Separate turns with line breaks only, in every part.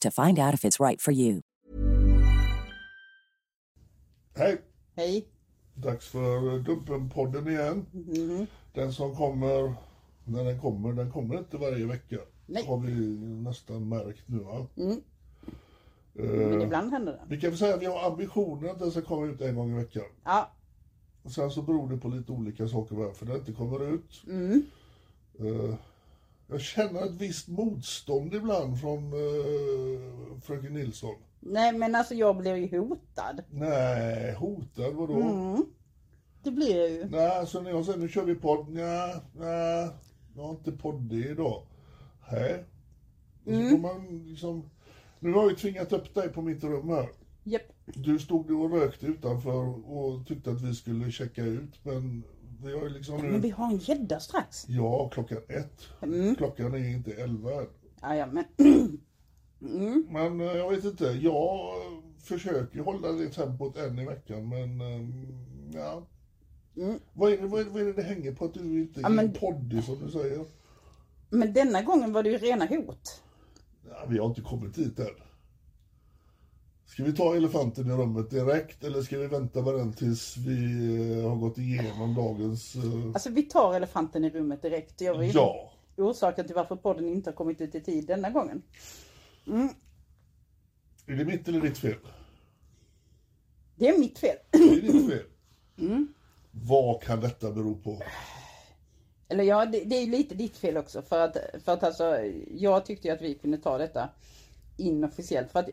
to find out if it's right for you.
Hej!
Hej.
Dags för eh, Dumpen-podden igen.
Mhm.
Den som kommer, när den kommer, den kommer inte varje vecka.
Nej.
Har vi nästan märkt nu va?
Mm. Men
Eh,
ibland händer det.
vi kan väl säga att vi har ambitionen att den ska komma ut en gång i veckan.
Ja.
Och sen så beror det på lite olika saker varför den inte kommer ut.
Mm.
Eh, jag känner ett visst motstånd ibland från eh, fröken Nilsson.
Nej men alltså jag blev ju hotad.
Nej, hotad vadå?
Mm. Det blir jag ju.
Nej, alltså när jag säger nu kör vi podd, nej, nej, jag har inte poddig idag. Nej. Och
Mm.
så får man liksom, nu har jag ju tvingat upp dig på mitt rum här.
Japp.
Du stod och rökte utanför och tyckte att vi skulle checka ut, men vi har ju liksom
Men vi
nu...
har en gädda strax.
Ja, klockan ett.
Mm.
Klockan är inte elva än.
Jajamän.
Men eh, jag vet inte, jag eh, försöker ju hålla det tempot en i veckan, men eh, ja.
Mm.
Vad, är det, vad, är det, vad är det det hänger på att du inte
Ja,
är
men-
poddig som du säger?
Men denna gången var det ju rena hot.
Ja, vi har inte kommit dit än. Ska vi ta elefanten i rummet direkt eller ska vi vänta med den tills vi eh, har gått igenom dagens... eh,
Alltså vi tar elefanten i rummet direkt. Jag vet
Ja.
orsaken till varför podden inte har kommit ut i tid denna gången.
Är det mitt eller ditt fel?
Det är mitt fel.
Det är ditt fel.
Mm.
Vad kan detta bero på?
Eller ja, det, det är ju lite ditt fel också. För att, för att alltså, jag tyckte ju att vi kunde ta detta inofficiellt. För att,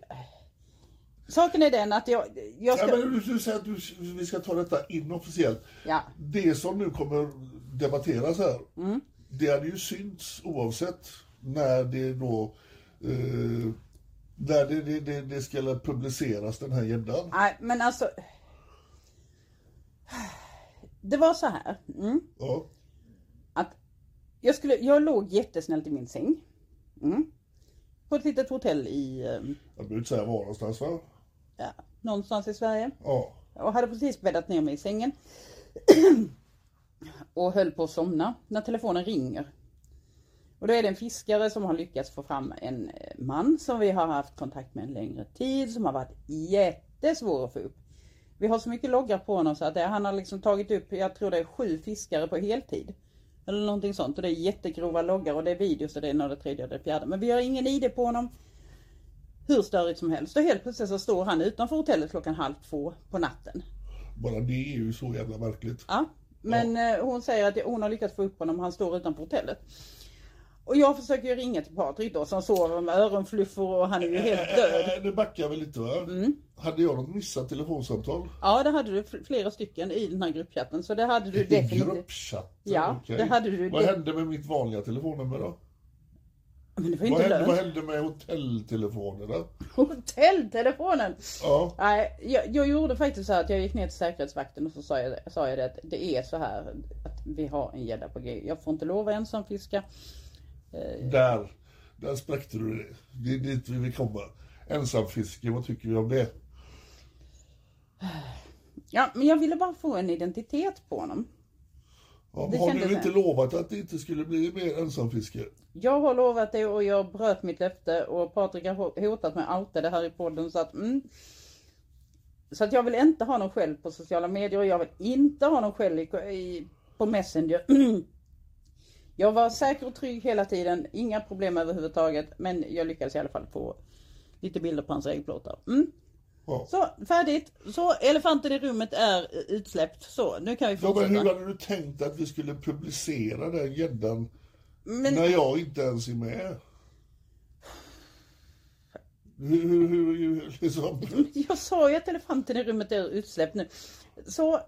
saken är den att jag, jag
Ja,
ska...
men du, du säger att du, vi ska ta detta inofficiellt.
Ja,
Det som nu kommer debatteras här,
Mm.
det hade ju synts oavsett när det då... Eh, när det, det, det, det skulle publiceras, den här gäddan.
nej men alltså. Det var så här. Mm,
Ja.
att jag, skulle, jag låg jättesnällt i min säng. Mm, på ett litet hotell i, eh,
Jag behöver inte säga var någonstans va?
ja, någonstans i Sverige.
Ja.
Och hade precis bäddat ner mig i sängen. och höll på att somna när telefonen ringer. Och då är det en fiskare som har lyckats få fram en eh, man som vi har haft kontakt med en längre tid som har varit jättesvår att få upp. Vi har så mycket loggar på honom så att det, han har liksom tagit upp, jag tror det är sju fiskare på heltid. Eller någonting sånt och det är jättegrova loggar och det är videos och det är några tredje och det fjärde. Men vi har ingen ID på honom hur störigt som helst. Och helt plötsligt så står han utanför hotellet klockan halv två på natten.
Bara det är ju så jävla märkligt.
Ja, men eh, hon säger att hon har lyckats få upp honom, han står utanför hotellet. Och jag försöker ju ringa till Patrik då som sover med öronfluffor och han är ju helt död.
Äh, nu backar vi lite va?
Mm.
Hade jag något missat telefonsamtal?
Ja det hade du fl- flera stycken i den här gruppchatten så det hade du
I
definitivt.
gruppchatten?
Ja,
okej.
det hade du.
Vad
Det-
hände med mitt vanliga telefonnummer då?
Men det var ju
Vad
inte
hände, vad
lönt.
hände med hotelltelefonerna?
Hotelltelefonen!
Ja.
Nej, jag, jag gjorde faktiskt så här att jag gick ner till säkerhetsvakten och så sa jag, sa jag det att det är så här att vi har en gädda på G. Jag får inte lov att ensamfiska.
Där, där spräckte du det. Det är dit vi vill komma. Ensamfiske, vad tycker vi om det?
Ja, men jag ville bara få en identitet på honom.
Ja,
Det
men har
kändes
du inte
det.
lovat att det inte skulle bli mer ensamfiske?
Jag har lovat det och jag bröt mitt löfte och Patrik har ho- hotat med att outa det här i podden så att mm. Så att jag vill inte ha någon skäll på sociala medier och jag vill inte ha någon skäll i, i, på Messenger. jag var säker och trygg hela tiden, inga problem överhuvudtaget men jag lyckades i alla fall få lite bilder på hans äggplåtar. Mm.
Ja.
Så, färdigt. Så, elefanten i rummet är eh, utsläppt. Så, nu kan vi
Ja, men
fortsätta.
hur hade du tänkt att vi skulle publicera den gäddan
Men-
när jag inte ens är med? Hur, hur, hur, hur liksom?
Jag sa ju att elefanten i rummet är utsläppt nu. Så,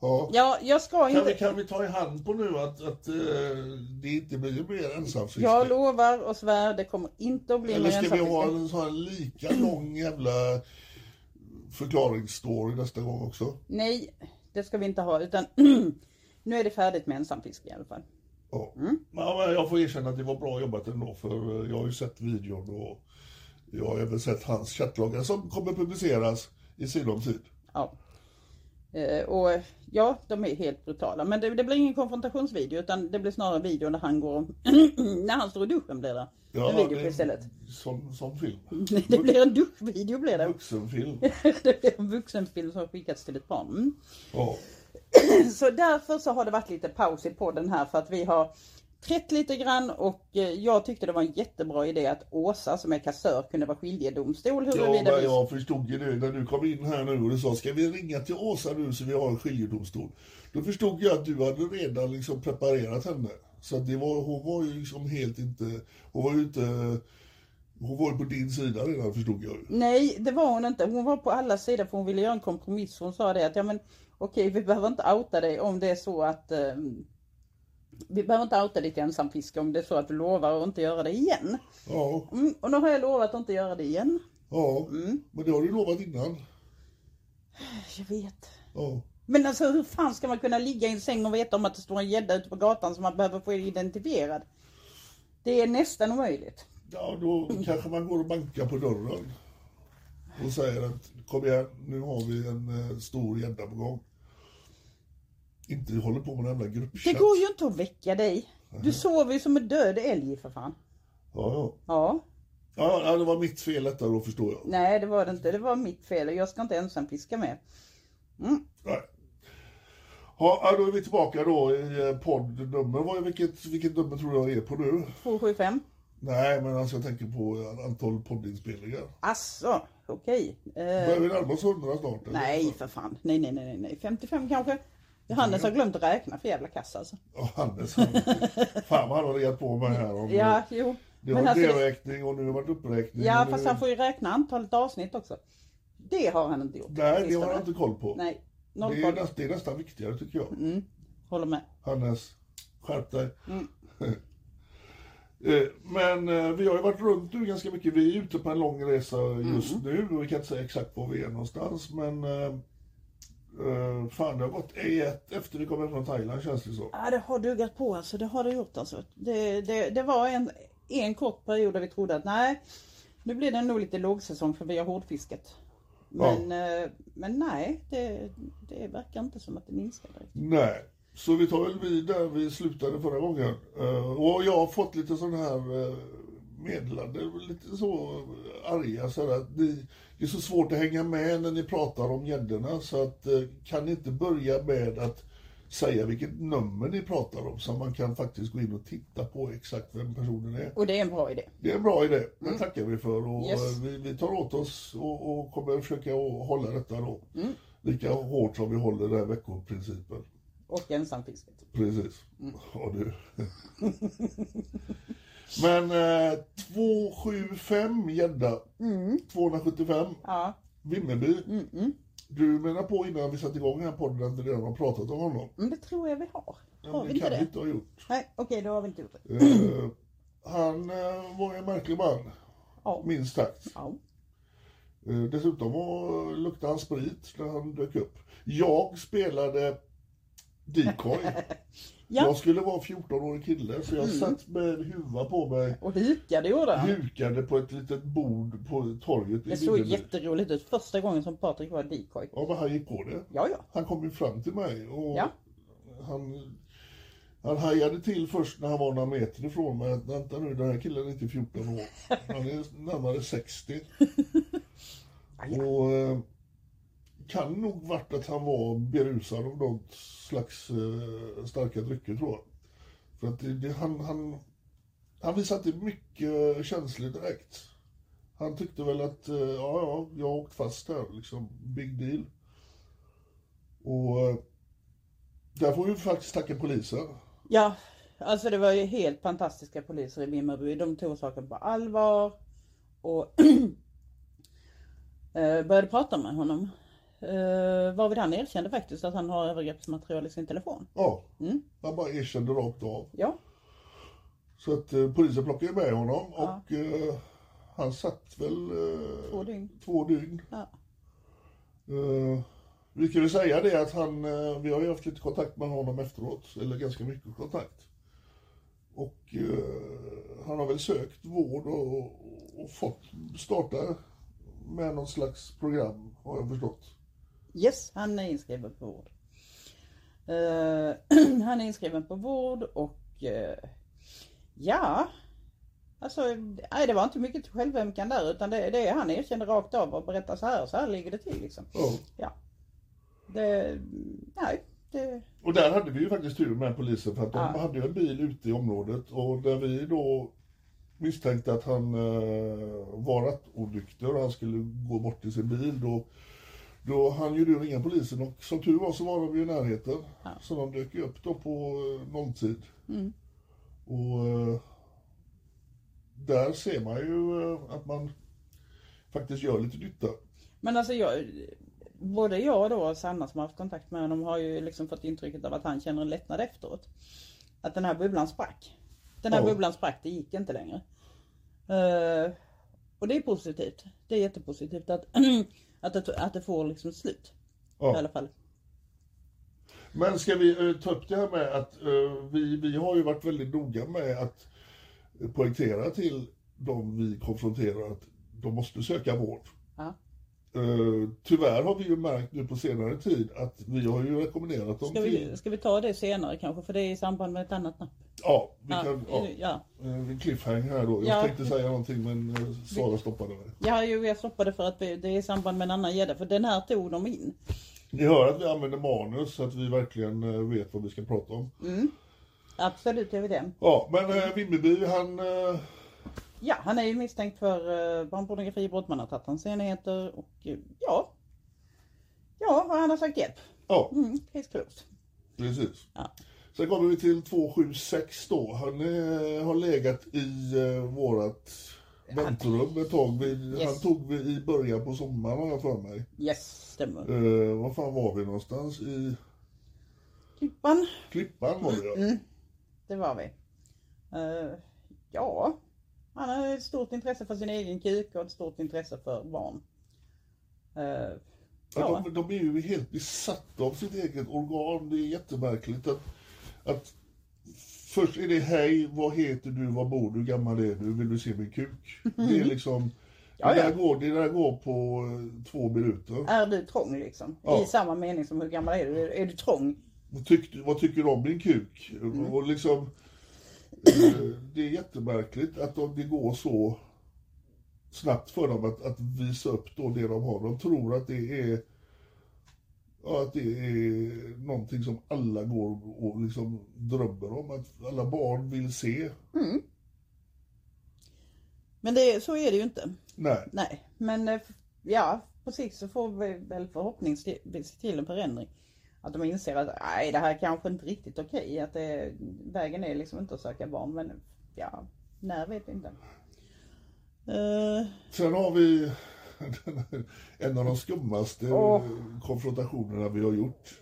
Ja.
ja, jag ska
Kan, vi,
inte.
kan vi ta i hand på nu att, att eh, det inte blir mer ensamfiske?
Jag lovar och svär, det kommer inte att bli
Eller
mer
ska vi ha
ensamfiske.
en sån här lika lång jävla förklaringsstory nästa gång också?
Nej, det ska vi inte ha. Utan nu är det färdigt med ensamfiske i alla fall.
Ja.
Mm.
Ja, men jag får erkänna att det var bra jobbat ändå för eh, jag har ju sett videon och jag har även sett hans chattlagar som kommer publiceras i sinom tid.
Ja. Eh, Och ja, de är helt brutala. Men det, det blir ingen konfrontationsvideo utan det blir snarare en video där han går och När han står i duschen blir det.
Ja,
en video
det-
på istället. Mm.
Som, som film.
Nej, det blir en duschvideo blir det.
Vuxenfilm.
det blir en vuxenfilm som har skickats till ett barn. Mm.
Ja.
Så därför så har det varit lite paus i podden här för att vi har trätt lite grann och eh, jag tyckte det var en jättebra idé att Åsa som är kassör kunde vara skiljedomstol
Ja,
huruvida
men
vi...
jag förstod ju det när du kom in här nu och du sa ska vi ringa till Åsa nu så vi har en skiljedomstol. Då förstod jag att du hade redan liksom preparerat henne. Så att det var, hon var ju liksom helt inte, hon var ju inte, hon var ju på din sida redan förstod jag ju.
Nej, det var hon inte. Hon var på alla sidor för hon ville göra en kompromiss. Hon sa det att ja men okej vi behöver inte outa dig om det är så att eh, vi behöver inte outa ditt ensamfiske om det är så att du lovar att inte göra det igen.
Ja,
Mm, och nu har jag lovat att inte göra det igen.
ja.
Mm.
Men det har du lovat innan.
Jag vet.
Ja.
Men alltså hur fan ska man kunna ligga i en säng och veta om att det står en gädda ute på gatan som man behöver få identifierad? Det är nästan omöjligt.
Ja, då kanske man går och bankar på dörren och säger att kom igen, nu har vi en eh, stor gädda på gång. Inte håller på med den jävla
Det
gruppchatt.
går ju inte att väcka dig. Du sover ju som en död älg för fan.
Ja, ja.
Ja,
Ja, ja, det var mitt fel detta då förstår jag.
nej det var det inte. Det var mitt fel och jag ska inte ensam fiska med.
Nej. Ja, ja, då är vi tillbaka då i eh, poddnummer. Vad är- Vilket, vilket nummer tror jag är på nu?
275.
Nej, men alltså jag tänker på eh, antal poddinspelningar.
Eh. Asså, okej. Eh,
Börjar vi närma oss hundra snart? eller?
nej för fan. Nej, nej, nej, nej, nej. 55 kanske. Johannes har glömt att räkna för jävla kass alltså.
Ja, Hannes, han, fan vad han har legat på mig här. Om,
Ja, jo.
Det
Men
var
alltså, det-
delräkning och nu har det varit uppräkning.
Ja,
och nu...
fast han får ju räkna antalet avsnitt också. Det har han inte gjort.
Nej, det
Sista
har jag
med.
inte koll på.
Nej, noll
det, är
koll.
nästan, det är nästan viktigare tycker jag.
Håller med.
Hannes, skärp dig. Eh, Men eh, vi har ju varit runt nu ganska mycket. Vi är ute på en lång resa just nu och vi kan inte säga exakt var vi är någonstans. Men eh, eh, fan, det har gått E1 efter vi kom hem från Thailand känns det så.
Ja, det har dugat på alltså. Det har det gjort alltså. Det, det, det var en, en kort period där vi trodde att nej, nu blir det nog lite lågsäsong för vi har hårdfiskat. Men, eh, men nej, det, det verkar inte som att det minskar direkt.
Nej, så vi tar väl vid där vi slutade förra gången. Eh, och jag har fått lite sådana här eh, meddelanden, lite så eh, arga så här att ni, det är så svårt att hänga med när ni pratar om gäddorna så att eh, kan ni inte börja med att säga vilket nummer ni pratar om så man kan faktiskt gå in och titta på exakt vem personen är.
Och det är en bra idé.
Det är en bra idé, det tackar vi för och
Yes.
eh, vi, vi tar åt oss och, och kommer försöka att hålla detta då. Lika hårt som vi håller den här veckoprincipen.
Och ensamfisket.
Precis. Ja, du. Men eh, 275 gädda.
Mm.
275
Ja,
Vimmerby.
Mm,
Du menar på innan vi satte igång den här podden att vi redan har pratat om honom?
men det tror jag vi har. Har
Men
vi
det
inte
kan vi
det?
inte ha gjort.
Nej, okej, då har vi inte gjort det.
Eh, han eh, var en märklig man,
Ja.
minst sagt.
ja.
Eh, Dessutom var, luktade han sprit när han dök upp. Jag spelade decoy. Jag skulle vara 14-årig kille så jag
Mm.
satt med en huva på mig
Och hukade gjorde han.
hukade på ett litet bord på torget i
Det såg
Vimmerby.
jätteroligt ut första gången som Patrik var decoy.
Ja, men han gick på det.
Ja, ja.
Han kom ju fram till mig och
Ja.
han, han hajade till först när han var några meter ifrån mig. att, Vänta nu, den här killen är inte 14 år. Han är närmare 60. Och eh, kan nog varit att han var berusad av något slags eh, starka drycker tror jag. För att det, det, han, han, han visade inte mycket eh, känslor direkt. Han tyckte väl att, eh, ja, ja, jag har åkt fast här, liksom, big deal. Och eh, där får vi faktiskt tacka polisen.
Ja, alltså det var ju helt fantastiska poliser i Vimmerby. De tog saken på allvar och eh, började prata med honom. Eh, Varvid han erkände faktiskt att han har övergreppsmaterial i sin telefon.
Ja,
Mm.
han bara erkände rakt av.
Ja,
Så att eh, polisen plockade ju med honom
Ja.
och eh, han satt väl eh,
två dygn.
två dygn.
Ja.
Eh, vi kan väl säga det att han, eh, vi har ju haft lite kontakt med honom efteråt, eller ganska mycket kontakt. Och eh, han har väl sökt vård och, och fått starta med någon slags program har jag förstått.
Yes, han är inskriven på vård. Eh, han är inskriven på vård och eh, ja, alltså nej, det var inte mycket till självömkan där utan det, det han erkände rakt av och berättade så här, så här ligger det till liksom.
Ja.
Det, nej, det,
Och där hade vi ju faktiskt tur med polisen för att de
Ja.
hade ju en bil ute i området och där vi då misstänkte att han eh, var rattonykter och han skulle gå bort till sin bil då, då hann ju du ringa polisen och som tur var så var de ju i närheten.
Ja.
Så de dök ju upp då på eh, nolltid.
mm,
Och eh, där ser man ju eh, att man faktiskt gör lite nytta.
Men alltså jag, både jag då och Sanna som har haft kontakt med honom har ju liksom fått intrycket av att han känner en lättnad efteråt. Att den här bubblan sprack. Den här
Ja.
bubblan sprack, det gick inte längre. Eh, och det är positivt. Det är jättepositivt att, att, det, att det får liksom slut.
Ja.
I alla fall.
Men ska vi eh, ta upp det här med att eh, vi, vi har ju varit väldigt noga med att poängtera till de vi konfronterar att de måste söka vård.
Ja.
Eh, tyvärr har vi ju märkt nu på senare tid att vi har ju rekommenderat dem
Ska vi,
till...
ska vi ta det senare kanske? För det är i samband med ett annat napp.
Ja, vi
Ja,
kan... Ja,
ja.
eh, en cliffhanger här då. Jag
Ja.
tänkte säga någonting men eh, Sara stoppade mig.
ja, jo jag stoppade för att det är i samband med en annan gädda. För den här tog de in.
Ni hör att vi använder manus så att vi verkligen eh, vet vad vi ska prata om.
Mm. Absolut, jag vill det.
Ja, men eh, Vimmerby han... eh,
Ja, han är ju misstänkt för eh, barnpornografibrott. Man har tagit hans enheter och eh, ja. Ja, och han har sagt hjälp.
ja,
Mm, case closed.
Precis.
Ja.
Sen kommer vi till 276 då. Han eh, har legat i eh, vårat väntrum ett tag. Vi,
Yes.
Han tog vi i början på sommaren har jag för mig.
Yes, stämmer.
Eh, var fan var vi någonstans? I
Klippan,
Klippan var
Mm.
det ja.
det var vi. Eh, ja, han har ett stort intresse för sin egen kuk och ett stort intresse för barn. Eh,
Ja,
ja,
de, de är ju helt besatta av sitt eget organ. Det är jättemärkligt att, att först är det hej, vad heter du, var bor du, hur gammal är du, vill du se min kuk? Det är liksom,
Ja,
det,
ja.
där går, det där går på eh, två minuter.
är du trång liksom?
Ja.
I samma mening som hur gammal är du? Är du trång?
Vad, tyck, vad tycker du om min kuk? Och liksom, eh, det är jättemärkligt att de, det går så snabbt för dem att, att visa upp då det de har. De tror att det är Ja, att det är någonting som alla går och liksom drömmer om, att alla barn vill se.
Men det, så är det ju inte.
Nej,
Nej, men eh, f- ja, på sikt så får vi väl förhoppningsvis till en förändring. Att de inser att nej, det här kanske inte riktigt okej. att det, vägen är liksom inte att söka barn. Men ja, när vet vi inte. Eh,
sen har vi den här- en av de skummaste eh,
Åh.
konfrontationerna vi har gjort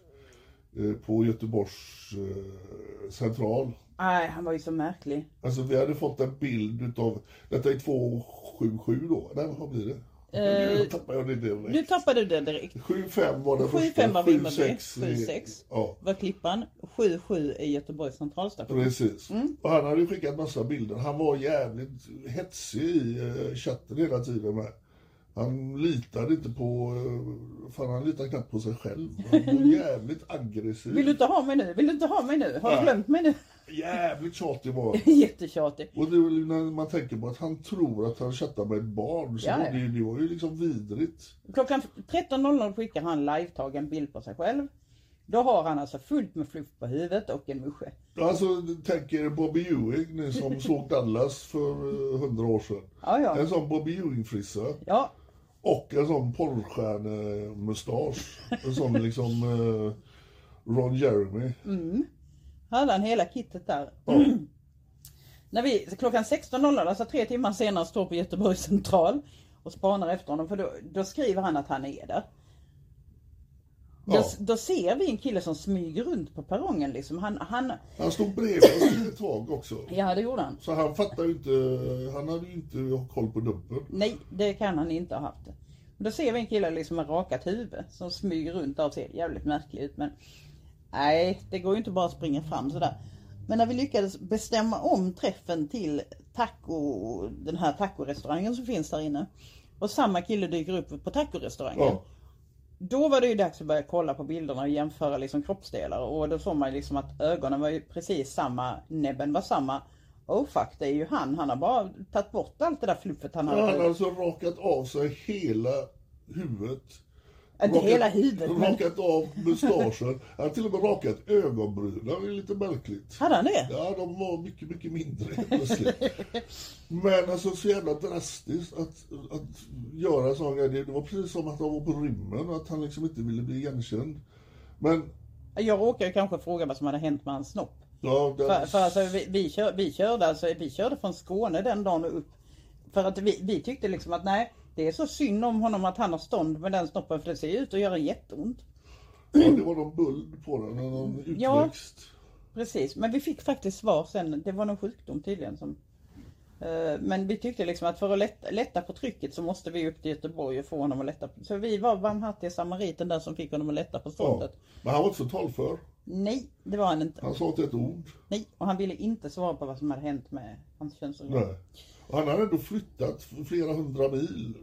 eh, på Göteborgs eh, central.
Nej, han var ju så märklig.
Alltså vi hade fått en bild utav, detta är 277 då, nej vad blir det?
Eh,
Nu tappar jag det
Nu
direkt.
tappade du det direkt.
75 var den
75
första,
var Vimmerby,
76 är-
76.
Ja,
Var Klippan 77 i Göteborgs centralstation.
precis.
Mm.
Och han hade ju skickat massa bilder. Han var jävligt hetsig i eh, chatten hela tiden med. Han litade inte på, eh, fan han litade knappt på sig själv. Han var jävligt aggressiv.
Vill du inte ha mig nu? Vill du inte ha mig nu? Har du
Nej.
glömt mig nu?
Jävligt tjatig var han.
Jättetjatig.
Och det, är väl när man tänker på att han tror att han chattar med ett barn, så
Ja, ja.
var det, ju- det var ju liksom vidrigt.
Klockan 13.00 skickar han live-tag en bild på sig själv. Då har han alltså fullt med fluff på huvudet och en musche.
Alltså, tänk er Bobby Ewing, ni som såg Dallas för eh, hundra år sedan.
Ja, ja.
En sån Bobby Ewing-frissa
Ja,
och en sån porrstjärnemustasch. En sån liksom eh, Ron Jeremy.
hade han hela kittet där.
Ja.
När vi, klockan 16.00, alltså tre timmar senare, står på Göteborgs central och spanar efter honom. För då, då skriver han att han är där. Då,
Ja.
då ser vi en kille som smyger runt på perrongen liksom. Han, han,
Han stod bredvid oss ett tag också.
ja det gjorde han.
Så han fattar ju inte, han hade ju inte koll på dumpen.
Nej, det kan han inte ha haft. Men Då ser vi en kille liksom med rakat huvud som smyger runt där och ser jävligt märklig ut. Men nej, det går ju inte bara att springa fram sådär. Men när vi lyckades bestämma om träffen till taco, den här tacorestaurangen som finns där inne. Och samma kille dyker upp på tacorestaurangen.
Ja.
Då var det ju dags att börja kolla på bilderna och jämföra liksom kroppsdelar och då såg man ju liksom att ögonen var ju precis samma, näbben var samma. Oh fuck, det är ju han. Han har bara tagit bort allt det där fluffet han
Han hade
hade.
alltså rakat av sig hela huvudet.
Inte hela huvudet men
Rakat av mustaschen. Han har till och med rakat ögonbrynen. Det är lite märkligt.
hade han det?
Ja, de var mycket, mycket mindre helt plötsligt. Men alltså så jävla drastiskt att, att göra en sån grej. Det var precis som att han var på rymmen och att han liksom inte ville bli igenkänd. Men,
Jag råkade kanske fråga vad som hade hänt med hans snopp.
ja, den,
För, för alltså, vi, vi, kör, vi, körde, alltså, vi körde från Skåne den dagen och upp. För att vi, vi tyckte liksom att nej, det är så synd om honom att han har stånd med den snoppen för det ser ju ut att göra jätteont.
ja, det var någon böld på den, någon
Ja.
utväxt.
Precis, men vi fick faktiskt svar sen. Det var någon sjukdom tydligen. Som, Eh, men vi tyckte liksom att för att lätta, lätta på trycket så måste vi upp till Göteborg och få honom att lätta. på- Så vi var barmhärtiga samariten där som fick honom att lätta på
Ja.
ståndet.
Men han var inte så talför.
Nej, det var han inte.
Han sa inte ett ord.
Nej, och han ville inte svara på vad som hade hänt med hans könsorgan.
Nej. Och han hade ändå flyttat flera hundra mil.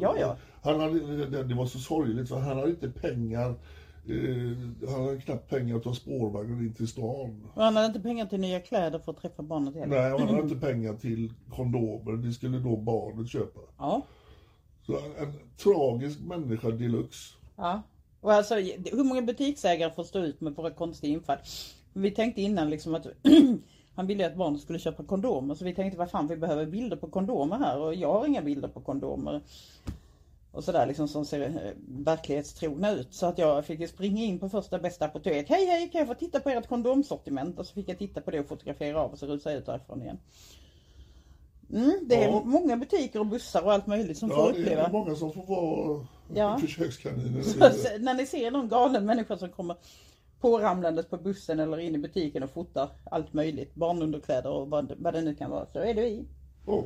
Ja, ja.
Han hade, det- det var så sorgligt för han hade inte pengar. Eh, han hade knappt pengar att ta spårvagnen in till stan.
Och han hade inte pengar till nya kläder för att träffa barnet heller.
Nej, och han hade inte pengar till kondomer. Det skulle då barnet köpa.
Ja,
Så en, en tragisk människa deluxe.
Ja. Och alltså, hur många butiksägare får stå ut med våra konstiga infall? Vi tänkte innan liksom att han ville ju att barnet skulle köpa kondomer så vi tänkte vad fan vi behöver bilder på kondomer här och jag har inga bilder på kondomer. Och sådär liksom som ser eh, verklighetstrogna ut så att jag fick ju springa in på första bästa apotek. Hej hej kan jag få titta på ert kondomsortiment? Och så fick jag titta på det och fotografera av och så rusade jag ut därifrån igen. Mm, det är
Ja.
många butiker och bussar och allt möjligt som får
Ja, det
uppleva.
är många som får vara
Ja.
försökskaniner.
Så se- Alltså, när ni ser någon galen människa som kommer påramlandes på bussen eller in i butiken och fotar allt möjligt, barnunderkläder och vad, vad det nu kan vara, så är det vi.
Ja.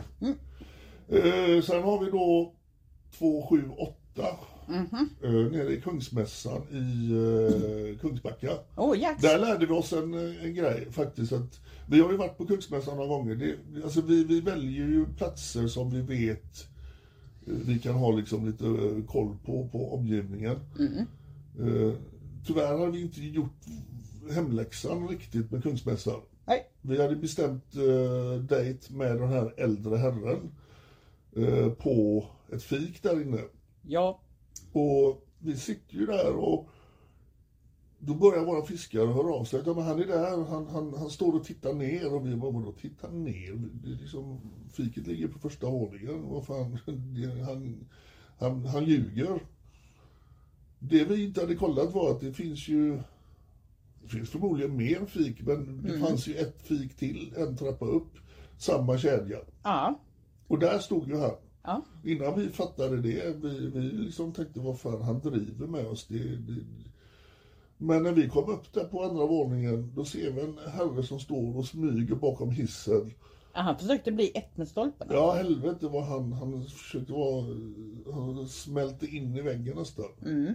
Eh, sen har vi då 278 eh, nere i Kungsmässan i eh, Kungsbacka.
Åh, oh, Jack!
Där lärde vi oss en, en grej faktiskt. Att vi har ju varit på Kungsmässan några gånger. Det, alltså vi, vi väljer ju platser som vi vet eh, vi kan ha liksom lite eh, koll på, på omgivningen. Eh, tyvärr har vi inte gjort hemläxan riktigt med Kungsmässan.
Nej,
Vi hade bestämt eh, dejt med den här äldre herren eh, på ett fik där inne.
ja,
Och vi sitter ju där och då börjar våra fiskare höra av sig. Ja, men han är där, han, han, han står och tittar ner. Och vi bara, vadå titta ner? Det är liksom, fiket ligger på första våningen. Vad fan, det, han, han, han ljuger. Det vi inte hade kollat var att det finns ju det finns förmodligen mer fik, men det fanns ju ett fik till, en trappa upp, samma kedja.
ja,
Och där stod ju han.
ja,
Innan vi fattade det, vi, vi liksom tänkte vad fan han driver med oss. Det, det... Men när vi kom upp där på andra våningen, då ser vi en herre som står och smyger bakom hissen.
Ja, han försökte bli ett med stolparna.
Ja, helvete vad han, han försökte vara, han smälte in i väggen nästan.
Mm.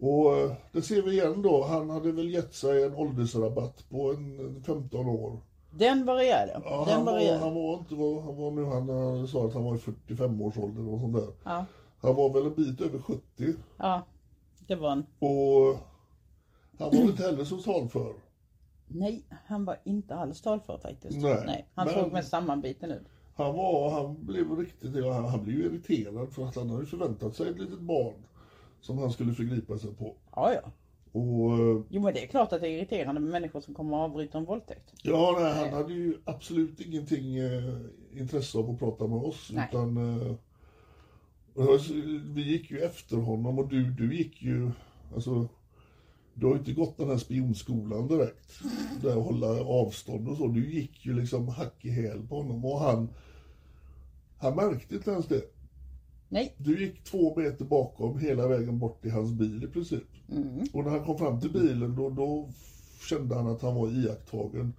Och eh, det ser vi igen då, han hade väl gett sig en åldersrabatt på en en 15 år.
Den var rejäl ja.
Ja,
Den
han,
var
var,
rejäl.
han var inte vad han var nu, han eh, sa att han var i 45 års ålder och sånt där.
Ja,
Han var väl en bit över 70
ja, det var han.
och han var väl inte heller så talför.
Nej, han var inte alls talför faktiskt.
Nej,
han
men-
såg mest sammanbiten ut.
Han var, han blev riktigt, ja, han, han blev ju irriterad för att han hade ju förväntat sig ett litet barn som han skulle förgripa sig på.
Ja, ja.
Och eh,
Jo men det är klart att det är irriterande med människor som kommer och avbryter en våldtäkt.
ja, nej, han hade ju absolut ingenting eh, intresse av att prata med oss.
Nej.
Utan, eh, och jag- vi gick ju efter honom och du, du gick ju, alltså, du har ju inte gått den här spionskolan direkt. Där att hålla avstånd och så. Du gick ju liksom hack i häl på honom och han, han märkte inte ens det.
Nej.
Du gick två meter bakom hela vägen bort till hans bil i princip.
Mm.
Och när han kom fram till bilen då, då kände han att han var iakttagen.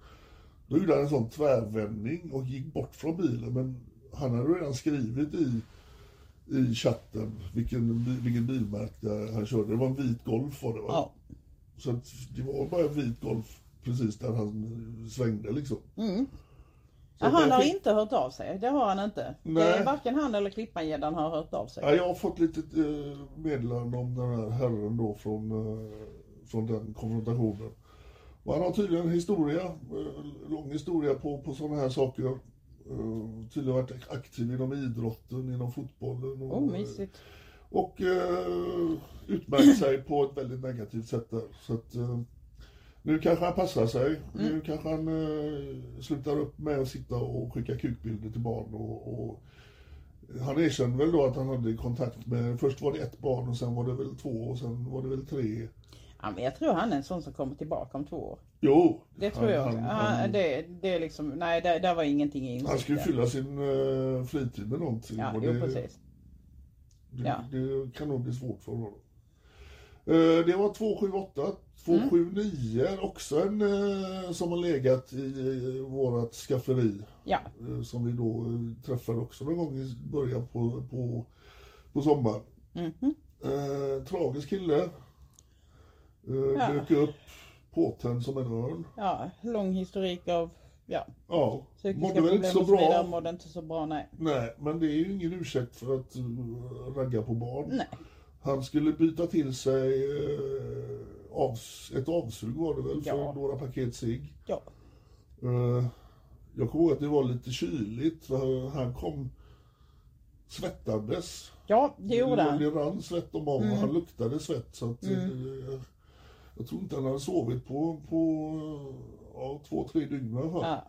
Då gjorde han en sån tvärvändning och gick bort från bilen. Men han hade redan skrivit i, i chatten vilken, bi- vilken bilmärke han körde. Det var en vit Golf var det va?
Ja.
Så att det var bara en vit Golf precis där han svängde liksom.
Mm.
Så
Ja,
att
han
jag
har
fick-
inte hört av sig. Det har han inte.
Nej.
Det är varken han eller Klippan-gäddan har hört av sig.
Ja, jag har fått lite eh, meddelande om den här herren då från, eh, från den konfrontationen. Och han har tydligen en historia, eh, lång historia på, på sådana här saker. Eh, Tydligen varit aktiv inom idrotten, inom fotbollen och,
Åh Oh, mysigt.
och eh, utmärkt sig på ett väldigt negativt sätt där. Så att, eh, nu kanske han passar sig.
Mm.
Nu kanske han eh, slutar upp med att sitta och skicka kukbilder till barn. Och, och han erkände väl då att han hade kontakt med, först var det ett barn och sen var det väl två och sen var det väl tre.
Ja, men jag tror han är en sån som kommer tillbaka om två år.
Jo,
Det tror jag.
han,
Han,
han, han,
det, det är liksom, nej, där, där var ingenting i
han skulle fylla
insikten.
sin eh, fritid med någonting.
Ja,
och
jo,
det-
precis.
Det,
Ja.
det kan nog bli svårt för honom. Eh, Det var 278, 279 också en eh, som har legat i eh, vårat skafferi.
Ja,
eh, Som vi då eh, träffade också någon gång i början på, på, på sommaren.
Mhm.
Eh, tragisk kille. Eh,
Ja.
Dök upp påtänd som en örn.
ja, lång historik av ja,
Ja,
psykiska
mådde väl
problem
inte så
och så vidare.
bra.
Mådde inte så bra, nej.
Nej, men det är ju ingen ursäkt för att eh, ragga på barn.
Nej,
Han skulle byta till sig eh, avs ett avsug var det väl,
Ja.
för några paket cigg.
ja.
Eh, jag kommer ihåg att det var lite kyligt, för han kom svettandes.
Ja, det gjorde
Det,
han. Mm.
det rann svett om honom, han luktade svett. Så att, eh, jag tror inte han hade sovit på, på eh, ja, två, tre dygn i alla fall.
Ja.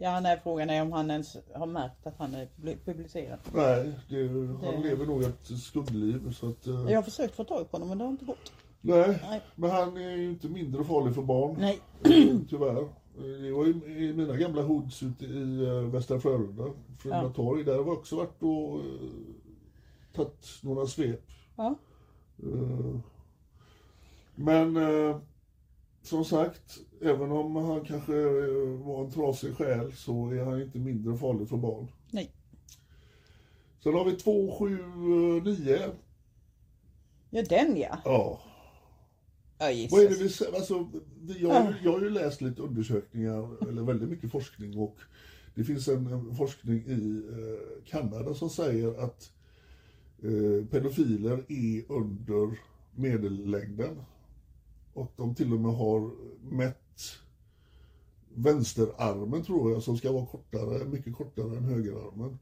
Ja, nej, frågan är om han ens har märkt att han är bli- publicerad.
Nej, det, han
Det-
lever nog ett skuggliv. Så att, eh,
Jag har försökt få tag på honom men det har inte gått.
nej.
Nej.
Men han är ju inte mindre farlig för barn.
Nej.
Eh, Tyvärr. Eh, Det var i, i mina gamla hoods ute i eh, Västra Frölunda, Frölunda
Ja.
torg, där har vi också varit och eh, tagit några svep.
Ja.
Eh, men eh, som sagt, även om han kanske eh, var en trasig själ så är han inte mindre farlig för barn.
Nej.
Sen har vi 279.
Ja, den ja.
Ja.
Ja,
Vad är det
Jesus.
vi säger? Alltså, vi- jag, har ju- jag har ju läst lite undersökningar, eller väldigt mycket forskning och det finns en en forskning i eh, Kanada som säger att eh, pedofiler är under medellängden. Och de till och med har mätt vänsterarmen tror jag, som ska vara kortare, mycket kortare än högerarmen.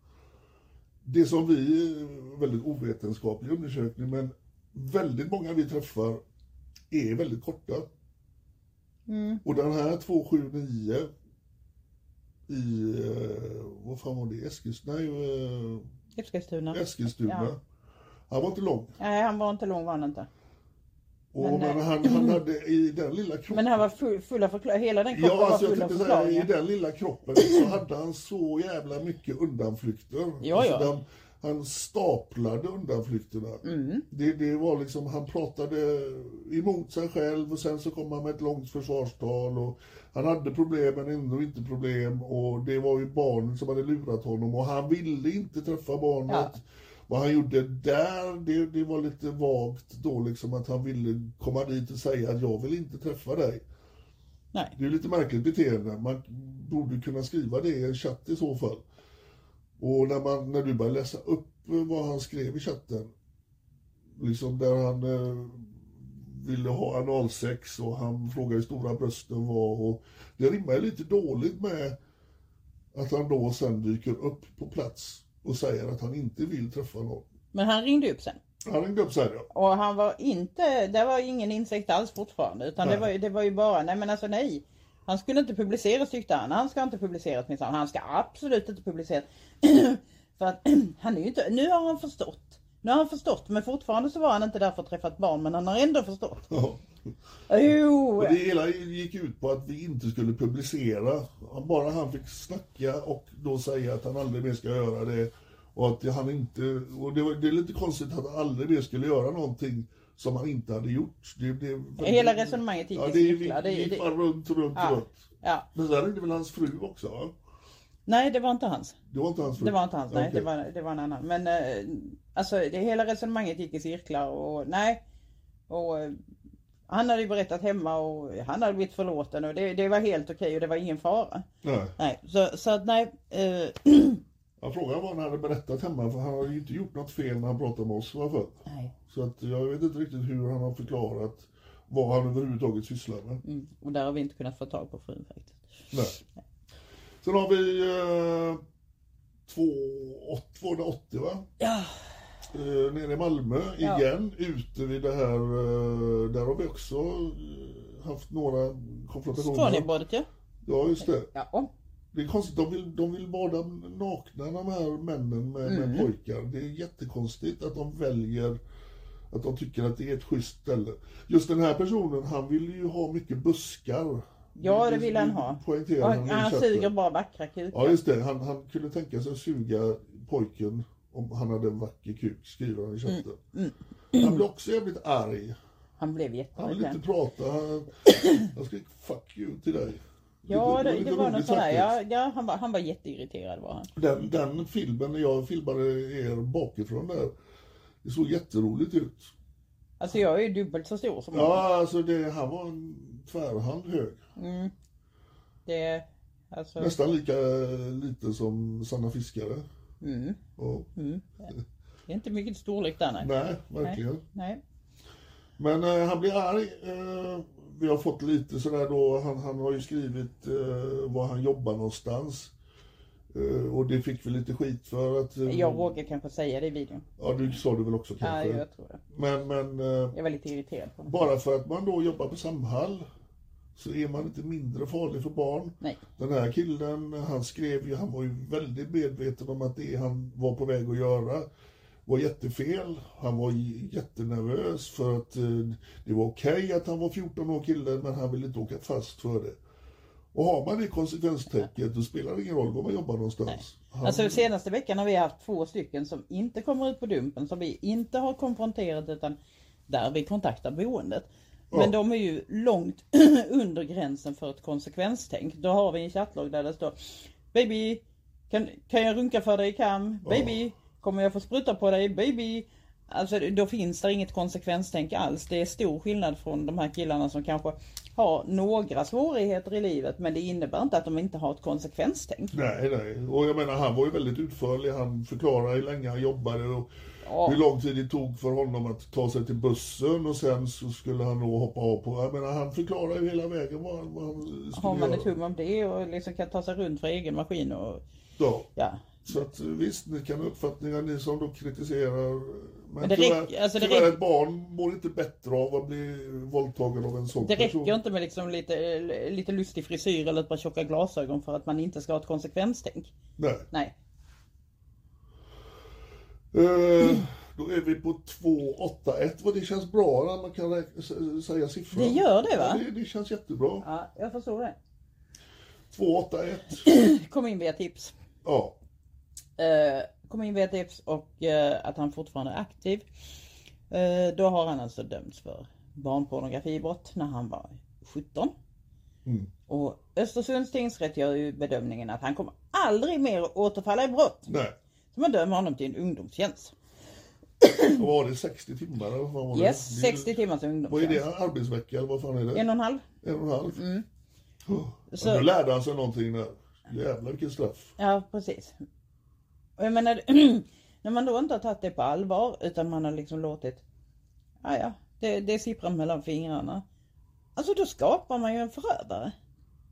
Det som vi, eh, väldigt ovetenskaplig undersökning, men väldigt många vi träffar är väldigt korta.
Mm.
Och den här 279 i, eh, vad fan var det, Eskils, nej, eh,
Eskilstuna.
Eskilstuna.
Ja.
Han var inte lång.
Nej, han var inte lång var han inte.
Och
Men,
men,
eh,
han, han hade i den lilla kroppen.
Men han var full, full av förklaringar. Hela den kroppen
Ja, alltså
var
jag
full av
tänkte säga, i
förklaringar.
den lilla kroppen så hade han så jävla mycket undanflykter.
Ja,
Alltså,
ja.
den- han staplade undanflykterna.
Mm.
Det, det var liksom, han pratade emot sig själv och sen så kom han med ett långt försvarstal och han hade problem men ändå inte problem och det var ju barnen som hade lurat honom och han ville inte träffa barnet.
Ja.
Vad han gjorde där, det, det var lite vagt då liksom att han ville komma dit och säga att jag vill inte träffa dig.
Nej.
Det är ju lite märkligt beteende. Man borde kunna skriva det i en chatt i så fall. Och när, man, när du börjar läsa upp vad han skrev i chatten, liksom där han eh, ville ha analsex och han frågade hur stora brösten var och det rimmar ju lite dåligt med att han då sen dyker upp på plats och säger att han inte vill träffa någon.
Men han ringde upp sen.
Han ringde upp sen ja.
Och han var inte, det var ingen insekt alls fortfarande utan det
Nej.
var, ju- det var ju bara, nej men alltså nej. Han skulle inte publiceras tyckte han. Han ska inte publiceras minsann. Han ska absolut inte publiceras. för att han är ju inte, nu har han förstått. Nu har han förstått men fortfarande så var han inte där för att träffa ett barn men han har ändå förstått.
ja.
Jo!
Och det hela gick ut på att vi inte skulle publicera. Bara han fick snacka och då säga att han aldrig mer ska göra det. Och att han inte... Och det, var, det är lite konstigt att han aldrig mer skulle göra någonting som han inte hade gjort. Det, det,
Hela resonemanget gick
ja,
i
det gick,
cirklar. Det- det-
gick bara runt och runt och
Ja.
runt.
Ja.
Men sen ringde väl hans fru också? Va?
Nej det var inte hans.
Det var inte hans fru?
Det var inte hans, nej.
Okej.
Det, var, det var en annan. Men eh, alltså det hela resonemanget gick i cirklar och nej. Och eh, han hade ju berättat hemma och han hade blivit förlåten och det, det var helt okej och det var ingen fara.
Nej.
Nej, så, så att nej. Eh,
Jag frågade vad han hade berättat hemma för han hade ju inte gjort något fel när han pratade med oss. Varför?
nej.
Så att jag vet inte riktigt hur han har förklarat vad han överhuvudtaget sysslar med.
Mm, och där har vi inte kunnat få tag på frun faktiskt.
Nej. Sen har vi eh, två- åt- 280 va?
Ja,
Eh, nere i Malmö
Ja.
igen, ute vid det här, eh, där har vi också eh, haft några konfrontationer.
Scaniabadet ja.
Ja, just det.
Ja, och,
Det är konstigt, de vill, de vill bada nakna de här männen med,
Mm.
med pojkar. Det är jättekonstigt att de väljer att de tycker att det är ett schysst ställe. Just den här personen, han vill ju ha mycket buskar.
ja det vill han ha.
Poängterar
Och
han,
han,
när han
han
köpte.
suger bara vackra kukar.
Ja, just det. Han, han kunde tänka sig att suga pojken om han hade en vacker kuk, skriver han i chatten. Han blev också jävligt arg.
Han blev
Han ville inte
jättearg.
prata. Han, han skrek 'fuck you' till dig.
Ja, det,
lite
det var något
roligt
sådär.
faktiskt.
Ja, ja, han, var, han var jätteirriterad var han.
Den, den filmen, när jag filmade er bakifrån där, det såg jätteroligt ut.
Alltså jag är ju dubbelt så stor som honom.
Ja, alltså det, han var en tvärhand hög.
Det, alltså,
Nästan lika liten som Sanna Fiskare.
mm,
Och,
det är inte mycket storlek där nej.
Nej, verkligen.
Nej.
Men eh, han blir arg. Eh, vi har fått lite sådär då, han, han har ju skrivit eh, var han jobbar någonstans. Eh, och det fick vi lite skit för att... Eh,
Jag råkar kanske säga det i videon.
Ja, du sa det väl också
Ja,
kanske.
jag tror det.
Men, men eh,
Jag var lite irriterad på honom.
bara för att man då jobbar på Samhall så är man inte mindre farlig för barn.
Nej.
Den här killen, han skrev ju, han var ju väldigt medveten om att det han var på väg att göra var jättefel. Han var j- jättenervös för att eh, det var okej att han var 14 år killen, men han ville inte åka fast för det. Och har man det konsekvenstäcket, då spelar det ingen roll var man jobbar någonstans. Han,
Alltså senaste veckan har vi haft två stycken som inte kommer ut på dumpen, som vi inte har konfronterat utan där vi kontaktar boendet. Men
Ja.
de är ju långt under gränsen för ett konsekvenstänk. Då har vi en chattlogg där det står Baby, kan, kan jag runka för dig i kam? Baby, kommer jag få spruta på dig? Baby. Alltså då finns det inget konsekvenstänk alls. Det är stor skillnad från de här killarna som kanske har några svårigheter i livet men det innebär inte att de inte har ett konsekvenstänk.
Nej, nej. Och jag menar, han var ju väldigt utförlig. Han förklarade hur länge han jobbade och
Ja.
hur lång tid det tog för honom att ta sig till bussen och sen så skulle han då hoppa av på... Jag menar, han förklarade ju hela vägen vad, han- vad han skulle
Har man
göra.
ett hum om det och liksom kan ta sig runt för egen maskin och
Ja.
ja.
Så att visst, ni kan ha uppfattningar, ni som då kritiserar. Men,
det
tyvärr,
räcker- alltså det
tyvärr
räcker-
ett barn mår inte bättre av att bli våldtagen av en sån
Det
person.
räcker inte med liksom lite, lite lustig frisyr eller ett par tjocka glasögon för att man inte ska ha ett konsekvenstänk.
Nej.
Nej. Mm.
Eh, då är vi på 281 vad det känns bra när man kan räkna, sä- säga siffran.
Det gör det, va?
Ja, det, det känns jättebra.
Ja, jag förstår det.
281.
Kom in via tips.
Ja.
Eh, Kom in via tips och eh, att han fortfarande är aktiv. Eh, Då har han alltså dömts för barnpornografibrott när han var 17.
Mm.
Och Östersunds tingsrätt gör ju bedömningen att han kommer aldrig mer återfalla i brott.
Nej.
Så man dömer honom till en ungdomstjänst.
Vad var det? 60 timmar? Eller vad fan var det?
Yes,
Det är-
60 timmars
Vad är det?
ungdomstjänst.
Arbetsvecka eller vad fan är det?
En och en halv.
En och en halv? Mm.
Så-
Nu lärde han sig någonting där. Jävlar vilket straff.
Ja, precis. Och jag menar, när man då inte har tagit det på allvar utan man har liksom låtit, ja ja, det, det sipprar mellan fingrarna. Alltså då skapar man ju en förövare.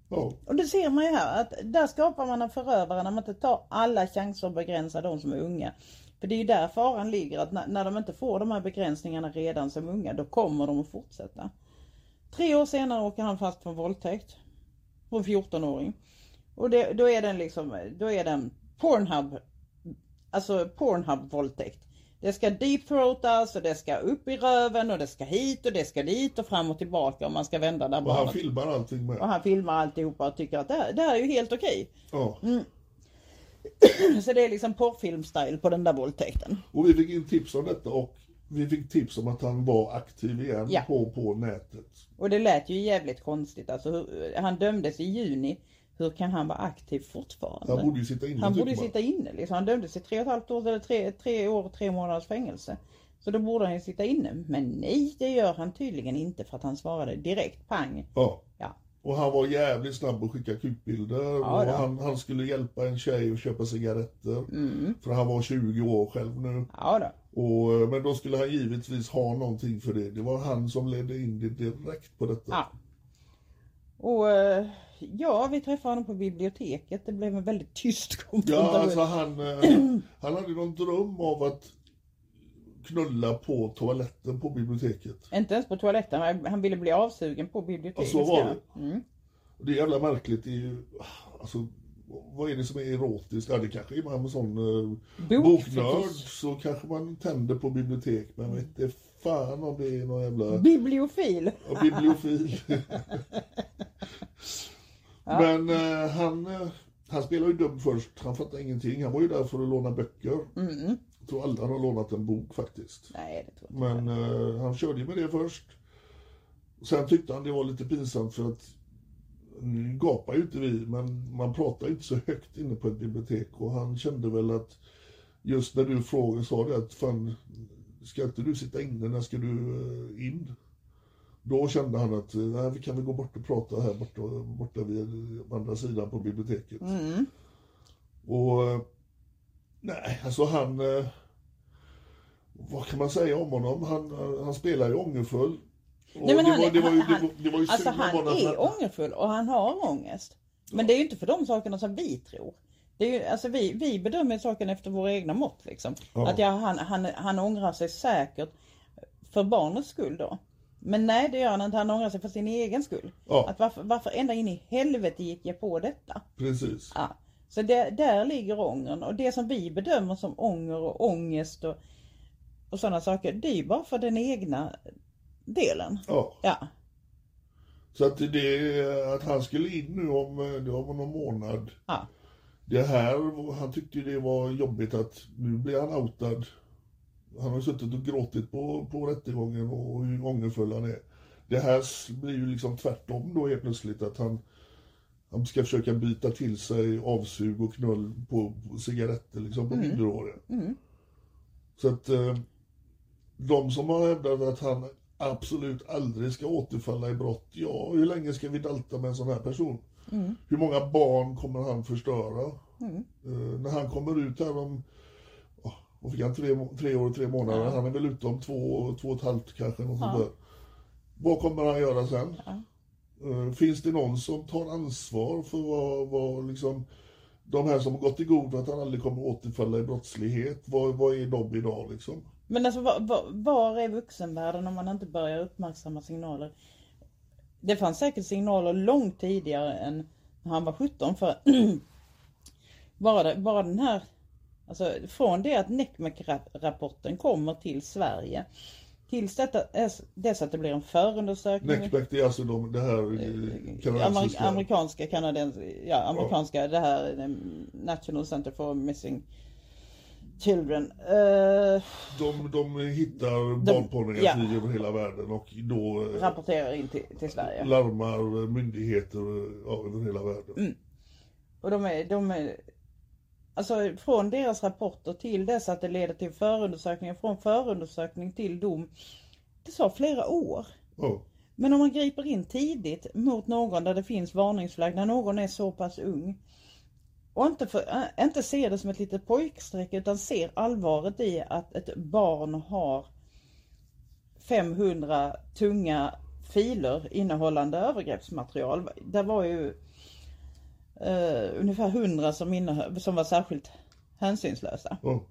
Ja.
Och det ser man ju här, att där skapar man en förövare när man inte tar alla chanser att begränsa de som är unga. För det är ju där faran ligger, att när, när de inte får de här begränsningarna redan som unga, då kommer de att fortsätta. Tre år senare åker han fast för våldtäkt. På en 14-åring. Och det, då är den liksom, då är den Pornhub, alltså Pornhub-våldtäkt. Det ska deepthroatas och det ska upp i röven och det ska hit och det ska dit och fram och tillbaka och man ska vända där
Och han
barnet.
filmar allting
Och
med.
han filmar alltihopa och tycker att det här, det här är ju helt okej.
Ja.
Mm. Så det är liksom porrfilmstyle på den där våldtäkten.
Och vi fick in tips om detta och vi fick tips om att han var aktiv igen
Ja.
på, på nätet.
Och det lät ju jävligt konstigt. Alltså, hur, han dömdes i juni. Hur kan han vara aktiv fortfarande?
Han borde ju sitta inne.
Han
tycker
borde ju
man.
sitta inne. Liksom. Han dömdes till tre och ett halvt år eller tre, tre år och tre månaders fängelse. Så då borde han ju sitta inne. Men nej, det gör han tydligen inte för att han svarade direkt pang.
Ja.
Ja,
Och han var jävligt snabb att skicka kukbilder.
Ja,
och
ja.
han, han skulle hjälpa en tjej att köpa cigaretter.
Mm.
För han var 20 år själv nu.
ja då.
Och, eh, men då skulle han givetvis ha någonting för det. Det var han som ledde in det direkt på detta.
Ja. Och eh, ja, vi träffade honom på biblioteket. Det blev en väldigt tyst konfrontation.
Ja, alltså han, eh, han hade någon dröm av att knulla på toaletten på biblioteket.
Inte ens på toaletten. Han- Han ville bli avsugen på biblioteket.
Och så Alltså, var
ja.
det. Det är jävla märkligt. Det är ju, alltså, vad är det som är erotiskt? Ja, det kanske är man med sån eh,
Bokfetisch.
boknörd så kanske man tänder på bibliotek. Men jag vet inte fan om det är någon jävla
Bibliofil.
ja, bibliofil. Men eh, han, eh, han spelade ju dum först. Han fattade ingenting. Han var ju där för att låna böcker. Jag tror aldrig han har lånat en bok faktiskt.
Nej, det tror jag inte.
Men eh, han körde ju med det först. Sen tyckte han det var lite pinsamt för att nu gapar ju inte vi, men man pratar ju inte så högt inne på ett bibliotek och han kände väl att just när du frågade sa det att fan, ska inte du sitta inne, när ska du eh, in? Då kände han att eh, nej, vi kan väl gå bort och prata här borta, borta vid andra sidan på biblioteket.
Mm.
Och eh, nej, alltså han... eh, Vad kan man säga om honom? Han, eh, han spelar ju ångerfull. Och
Nej, men
det
han
var-
är-
det var ju- det
han-
var- det var ju
Alltså
synd om
han
honom,
är
men-
ångerfull och han har ångest. Men det är ju inte för de sakerna som vi tror. Det är ju, alltså vi, vi bedömer saken efter våra egna mått. Liksom.
Ja.
Att ja, han, han, han ångrar sig säkert för barnets skull då. Men nej det gör han inte, han ångrar sig för sin egen skull.
Ja.
Att varför, varför ända in i helvete gick jag på detta?
Precis.
Ja. Så det, där ligger ångern och det som vi bedömer som ånger och ångest och, och sådana saker, det är ju bara för den egna delen.
Ja.
Ja.
Så att, det, att han skulle in nu om, eh, det var om någon månad.
ja.
Det här, han tyckte ju det var jobbigt att nu blir han outad. Han har ju suttit och gråtit på, på rättegången och hur ångerfull han är. Det här s- blir ju liksom tvärtom då helt plötsligt att han, han ska försöka byta till sig avsug och knull på, på cigaretter liksom på minderåriga. Så att eh, de som har hävdat att han absolut aldrig ska återfalla i brott, ja hur länge ska vi dalta med en sån här person? Hur många barn kommer han förstöra? Eh, när han kommer ut här om, oh, vad fick han, tre, må- tre år och tre månader, han är väl ute om två, två och ett halvt kanske, något sånt där. Vad kommer han göra sen? Eh, finns det någon som tar ansvar för vad, vad liksom, de här som har gått i god för att han aldrig kommer återfalla i brottslighet, vad, vad är de idag liksom?
Men alltså var, var, var är vuxenvärlden om man inte börjar uppmärksamma signaler? Det fanns säkert signaler långt tidigare än när han var 17 för bara, det- bara den här Alltså från det att NECMEC-rapporten kommer till Sverige tills detta, dess att det blir en förundersökning.
Neckback, det är alltså de, det här eh,
Amerik
kanadensiska.
amerikanska kanadensiska, ja amerikanska det här eh, National Center for Missing Children. Eh,
De, de hittar barnpornografi över hela världen och då eh,
rapporterar in till, till Sverige.
larmar myndigheter eh, ja, över hela världen.
Och de är, de är, alltså från deras rapporter till dess att det leder till förundersökning och från förundersökning till dom. Det sa flera år.
Ja.
Men om man griper in tidigt mot någon där det finns varningsflagg, när någon är så pass ung. Och inte, för, äh, inte ser det som ett litet pojkstreck utan ser allvaret i att ett barn har 500 tunga filer innehållande övergreppsmaterial. Det var ju äh, eh, ungefär 100 som, innehö- som var särskilt hänsynslösa.
Ja.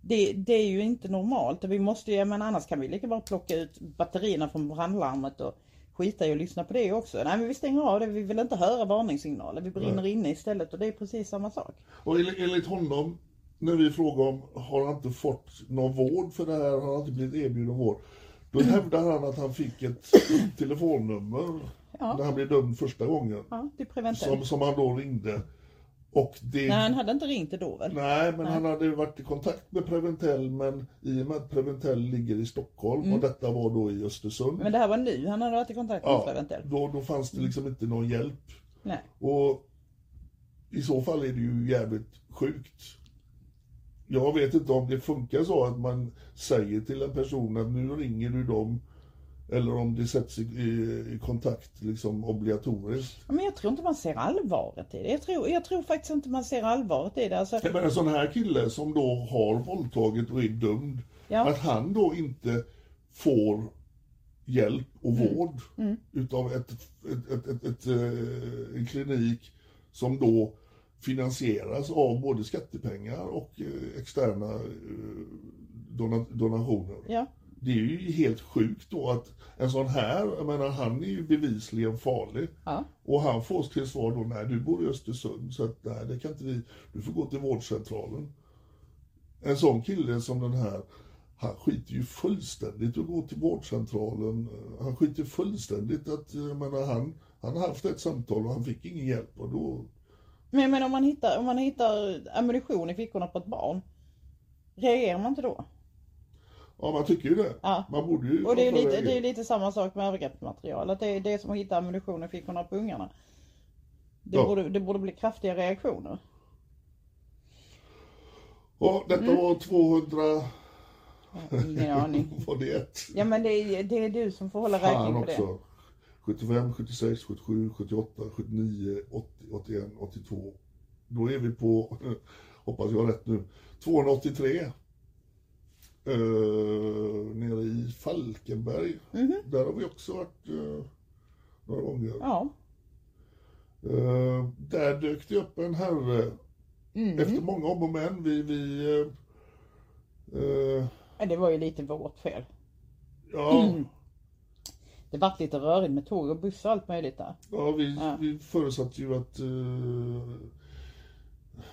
det, det är ju inte normalt. Vi måste ju, men annars kan vi lika bra plocka ut batterierna från brandlarmet och skita i att lyssna på det också. Nej men vi stänger av det, vi vill inte höra varningssignaler. Vi brinner inne istället och det är precis samma sak.
Och enligt, enligt honom, när vi frågar om har han inte fått någon vård för det här, har han inte blivit erbjuden vård. Då
Mm.
hävdar han att han fick ett telefonnummer
Ja.
när han blev dömd första gången.
Ja, det är preventivt.
Som, som han då ringde. Och det...
Nej han hade inte ringt det då väl?
Nej, men han hade ju varit i kontakt med Preventell, men i och med att Preventell ligger i Stockholm och detta var då i Östersund.
Men det här var nu han hade varit i kontakt med
ja,
Preventell.
då, då fanns det liksom inte någon hjälp.
Nej.
Och i så fall är det ju jävligt sjukt. Jag vet inte om det funkar så att man säger till en person att nu ringer du dem. Eller om det sätts i, i, i kontakt liksom obligatoriskt.
Ja, Men jag tror inte man ser allvaret i det. Jag tror, jag tror faktiskt inte man ser allvaret i det. Alltså,
Ja, Men en sån här kille som då har våldtagit och är dömd,
Ja.
att han då inte får hjälp och vård utav ett, ett, ett, ett, ett, eh, en klinik som då finansieras av både skattepengar och eh, externa eh, dona- donationer.
ja.
Det är ju helt sjukt då att en sån här, jag menar han är ju bevisligen farlig.
Ja.
Och han får till svar då, nej du bor i Östersund så att nej det kan inte vi, du får gå till vårdcentralen. En sån kille som den här, han skiter ju fullständigt att gå till vårdcentralen. Han skiter fullständigt att, jag menar han, han har haft ett samtal och han fick ingen hjälp och då,
Men, men om, man hittar, om man hittar ammunition i fickorna på ett barn, reagerar man inte då?
ja man tycker ju det.
Ja.
Man borde ju...
Och det är ju lite, det är lite samma sak med övergreppsmaterial, att det är det som att hitta ammunition i fickorna på ungarna. Det,
Ja.
borde, det borde bli kraftiga reaktioner.
Ja, detta
Mm.
var 200,
Jag har Ingen aning.
var det ett?
Ja men det är, det är du som får hålla
Fan
räkning på det.
också. 75, 76, 77, 78, 79, 80, 81, 82. Då är vi på, hoppas jag har rätt nu, 283. Eh, nere i Falkenberg.
Mhm.
Där har vi också varit eh, några gånger.
Ja.
Eh, där dök det upp en herre.
Mhm. Mm.
Efter många om och men. Vi, vi, eh, eh,
Men Det var ju lite vårt fel.
ja,
Mm. Det vart lite rörigt med tåg och buss och allt möjligt där.
Ja, vi,
Ja.
vi förutsatte ju att... eh,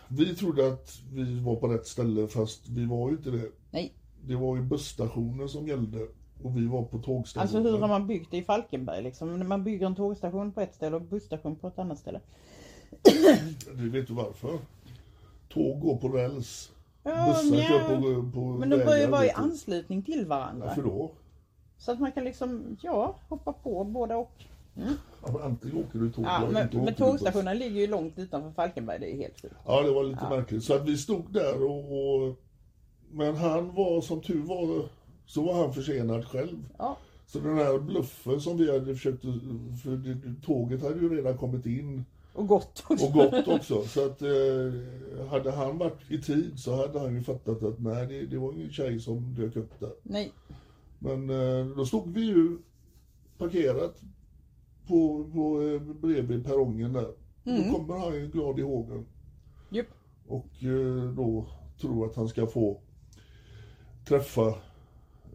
vi trodde att vi var på rätt ställe, fast vi var ju inte det.
Nej.
Det var ju busstationer som gällde och vi var på tågstationer.
Alltså hur har man byggt det i Falkenberg liksom? Man bygger en tågstation på ett ställe och busstation på ett annat ställe.
Vi vet ju varför. Tåg går på räls.
Ja,
Bussar
nja.
kör på, på
Men de bör ju
vägar,
vara i
vet du.
anslutning till varandra.
Varför då?
Så att man kan liksom, ja, hoppa på båda och.
Ja, men Antingen åker du tåg
Ja,
eller
men,
inte åker
men
du buss.
tågstationen ligger ju långt utanför Falkenberg, det är helt sjukt.
Ja, det var lite märkligt. Så att vi stod där och, och... Men han var, som tur var, så var han försenad själv.
Ja,
Så den här bluffen som vi hade försökt, för det- tåget hade ju redan kommit in
och gott också.
och gått också. Så att eh, hade han varit i tid så hade han ju fattat att nej, det, det var ingen tjej som dök upp där.
Nej,
Men eh, då stod vi ju parkerat på, på, eh, bredvid perrongen där. Då kommer han ju glad i hågen
jupp.
och eh, då tror att han ska få träffa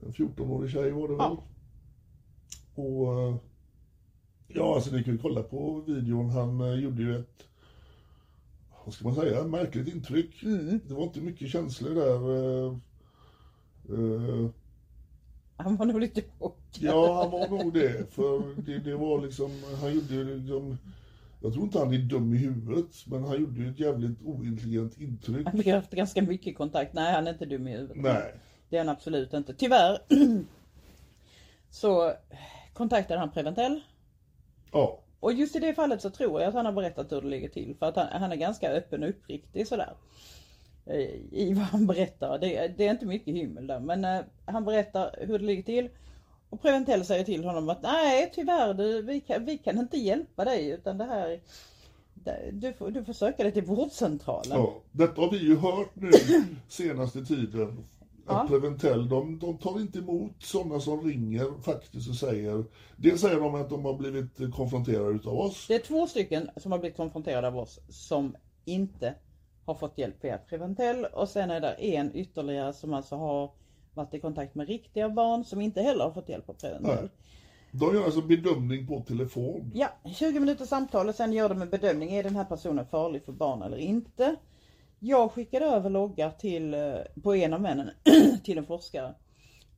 en 14-årig tjej var det väl?
Ja.
Och eh, ja, alltså ni kan ju kolla på videon. Han eh, gjorde ju ett, vad ska man säga, märkligt intryck.
mm.
Det var inte mycket känslor där. eh, eh,
Han var nog lite chock.
Ja, han var nog det. För det, det var liksom, han gjorde ju liksom, jag tror inte han är dum i huvudet, men han gjorde ju ett jävligt ointelligent intryck.
Han har haft ganska mycket kontakt. Nej, han är inte dum i huvudet.
Nej.
Det är han absolut inte. Tyvärr så kontaktade han Preventell.
Ja.
Och just i det fallet så tror jag att han har berättat hur det ligger till. För att han, han är ganska öppen och uppriktig sådär. eh, I vad han berättar. Det, det är inte mycket himmel där. Men eh, han berättar hur det ligger till. Och Preventell säger till honom att nej tyvärr du, vi, kan, vi kan inte hjälpa dig utan det här det- du får, du får söka dig till vårdcentralen.
Ja, detta har vi ju hört nu senaste tiden. Att Preventell, de, de tar inte emot sådana som ringer faktiskt och säger... Dels säger de att de har blivit konfronterade utav oss.
Det är två stycken som har blivit konfronterade av oss som inte har fått hjälp via Preventell och sen är det en ytterligare som alltså har varit i kontakt med riktiga barn som inte heller har fått hjälp av Preventell.
Nej. De gör alltså bedömning på telefon.
Ja, 20 minuter samtal och sen gör de en bedömning. Är den här personen farlig för barn eller inte? Jag skickade över loggar till, eh, på en av männen till en forskare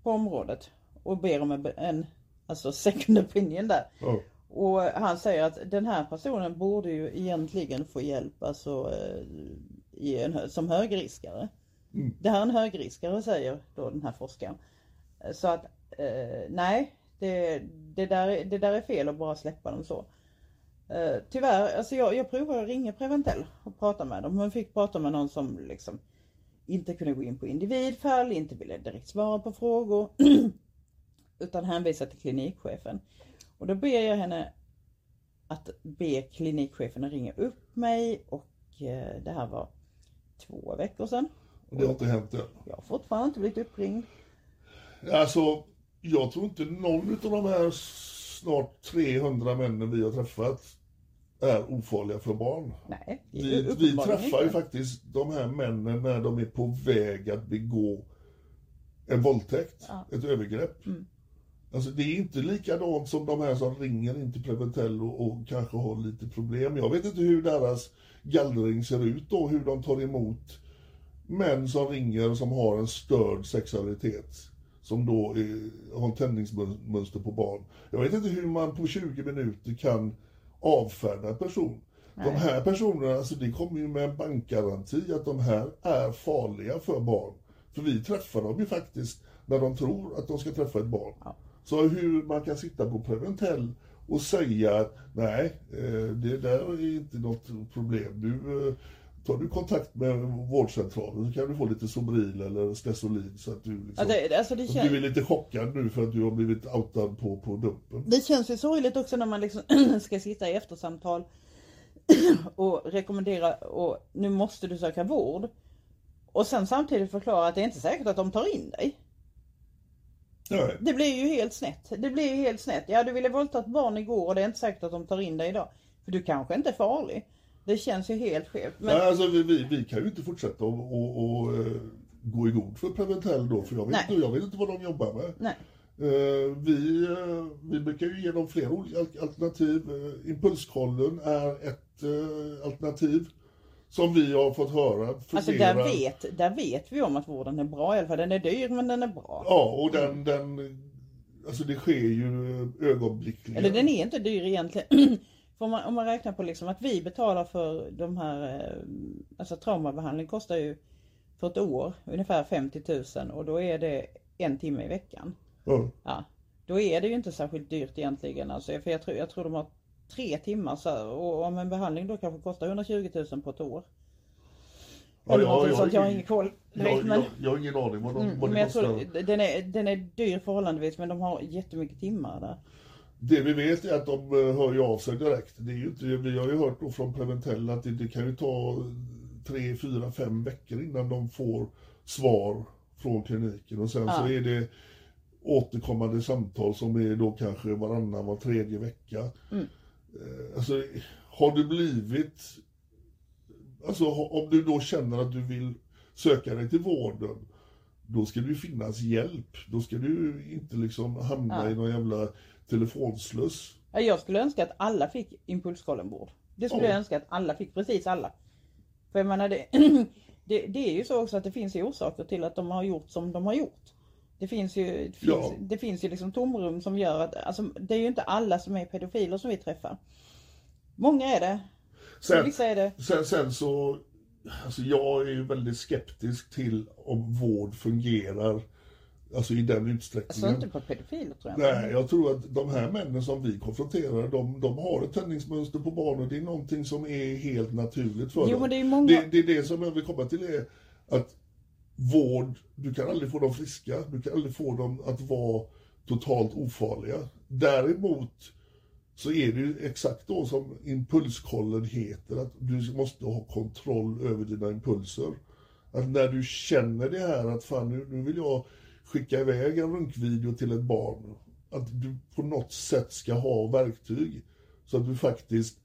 på området och ber om en, be- en alltså second opinion där.
Ja.
Och han säger att den här personen borde ju egentligen få hjälp alltså, eh, i en, hö- som högriskare.
Mm.
Det här är en högriskare säger då den här forskaren. Eh, Så att eh, nej, det, det, där, är- det där är fel att bara släppa dem så. Eh, tyvärr, alltså jag, jag provade att ringa Preventell och prata med dem. Man fick prata med någon som liksom inte kunde gå in på individfall, inte ville direkt svara på frågor. utan hänvisa till klinikchefen. Och då ber jag henne att be klinikchefen att ringa upp mig och eh, det här var två veckor sedan.
Och det har inte hänt än.
Jag har fortfarande inte blivit uppringd.
Alltså, jag tror inte någon av de här snart 300 männen vi har träffat är ofarliga för barn.
Nej, det är
Vi, vi
uppenbarligen
träffar ju
inte.
faktiskt de här männen när de är på väg att begå en våldtäkt,
Ja.
ett övergrepp.
Mm.
Alltså det är inte likadant som de här som ringer in till Preventell och, och kanske har lite problem. Jag vet inte hur deras gallring ser ut då, hur de tar emot män som ringer som har en störd sexualitet. Som då eh, har en tändningsmönster på barn. Jag vet inte hur man på 20 minuter kan avfärda en person. De
Nej.
här personerna, alltså det kommer ju med en bankgaranti att de här är farliga för barn. För vi träffar dem ju faktiskt när de tror att de ska träffa ett barn.
Ja.
Så hur man kan sitta på Preventell och säga att nej, eh, det där är inte något problem. Du, eh, tar du kontakt med vårdcentralen så kan du få lite Sobril eller Stesolid så att du, liksom,
Ja, det, alltså det,
så att du
känns,
är lite chockad nu för att du har blivit outad på, på dumpen.
det känns ju sorgligt också när man liksom ska sitta i eftersamtal och rekommendera och nu måste du söka vård. Och sen samtidigt förklara att det är inte säkert att de tar in dig.
Nej.
Det blir ju helt snett. Det blir ju helt snett. Ja, du ville våldta ett barn igår och det är inte säkert att de tar in dig idag. För du kanske inte är farlig. Det känns ju helt skevt. Men
Nej, alltså vi, vi, vi kan ju inte fortsätta och, och, och eh, gå i god för Preventell då, för jag vet,
Nej.
inte, jag vet inte vad de jobbar med.
nej.
Eh, vi, eh, vi brukar ju ge dem flera olika al- alternativ. Eh, impulskollen är ett eh, alternativ som vi har fått höra.
Alltså där
fungerar.
vet, där vet vi om att vården är bra i alla fall. Den är dyr men den är bra.
Ja, och
Mm.
den, den, alltså det sker ju eh, ögonblickligen.
Eller den är inte dyr egentligen. För om, man, om man räknar på liksom att vi betalar för de här, eh, alltså traumabehandling kostar ju för ett år ungefär 50 000 och då är det en timme i veckan.
Ja.
Ja, då är det ju inte särskilt dyrt egentligen. Alltså, för jag, tror, jag tror de har tre timmar så här, och om en behandling då kanske kostar 120 000 på ett år.
Ja,
Eller
ja,
någonting
ja,
sånt, jag har
ja,
ingen koll. direkt,
Jag,
men
jag, jag har ingen aning vad, de,
mm,
vad det
men jag
kostar.
tror, den, är, den är dyr förhållandevis men de har jättemycket timmar där.
Det vi vet är att de eh, hör ju av sig direkt. Det är ju inte, vi har ju hört då från Preventell att det, det kan ju ta tre, fyra, fem veckor innan de får svar från kliniken. Och sen så
Ja.
är det återkommande samtal som är då kanske varannan, var tredje vecka.
Mm.
Eh, Alltså, har du blivit... Alltså ha- om du då känner att du vill söka dig till vården, då ska det ju finnas hjälp. Då ska du inte liksom hamna
Ja.
i någon jävla telefonsluss.
Ja, Jag skulle önska att alla fick impulskollenbord. Det skulle
Ja.
jag önska att alla fick, precis alla. För jag menar det, det, det är ju så också att det finns ju orsaker till att de har gjort som de har gjort. Det finns ju, det finns,
Ja.
det finns ju liksom tomrum som gör att, alltså, det är ju inte alla som är pedofiler som vi träffar. Många är det,
Sen,
vissa är det.
sen, sen så, alltså jag är ju väldigt skeptisk till om vård fungerar, alltså i den
Alltså
utsträckningen.
inte på pedofiler tror jag
Nej, jag tror att de här männen som vi konfronterar, de, de har ett tändningsmönster på barn och det är någonting som är helt naturligt för
Jo
dem.
men det är ju många,
Det, det är det som jag vill komma till är att vård, du kan aldrig få dem friska, du kan aldrig få dem att vara totalt ofarliga. Däremot så är det ju exakt då som impulskollen heter, att du måste ha kontroll över dina impulser. Att när du känner det här att fan nu, nu vill jag skicka iväg en runkvideo till ett barn. Att du på något sätt ska ha verktyg så att du faktiskt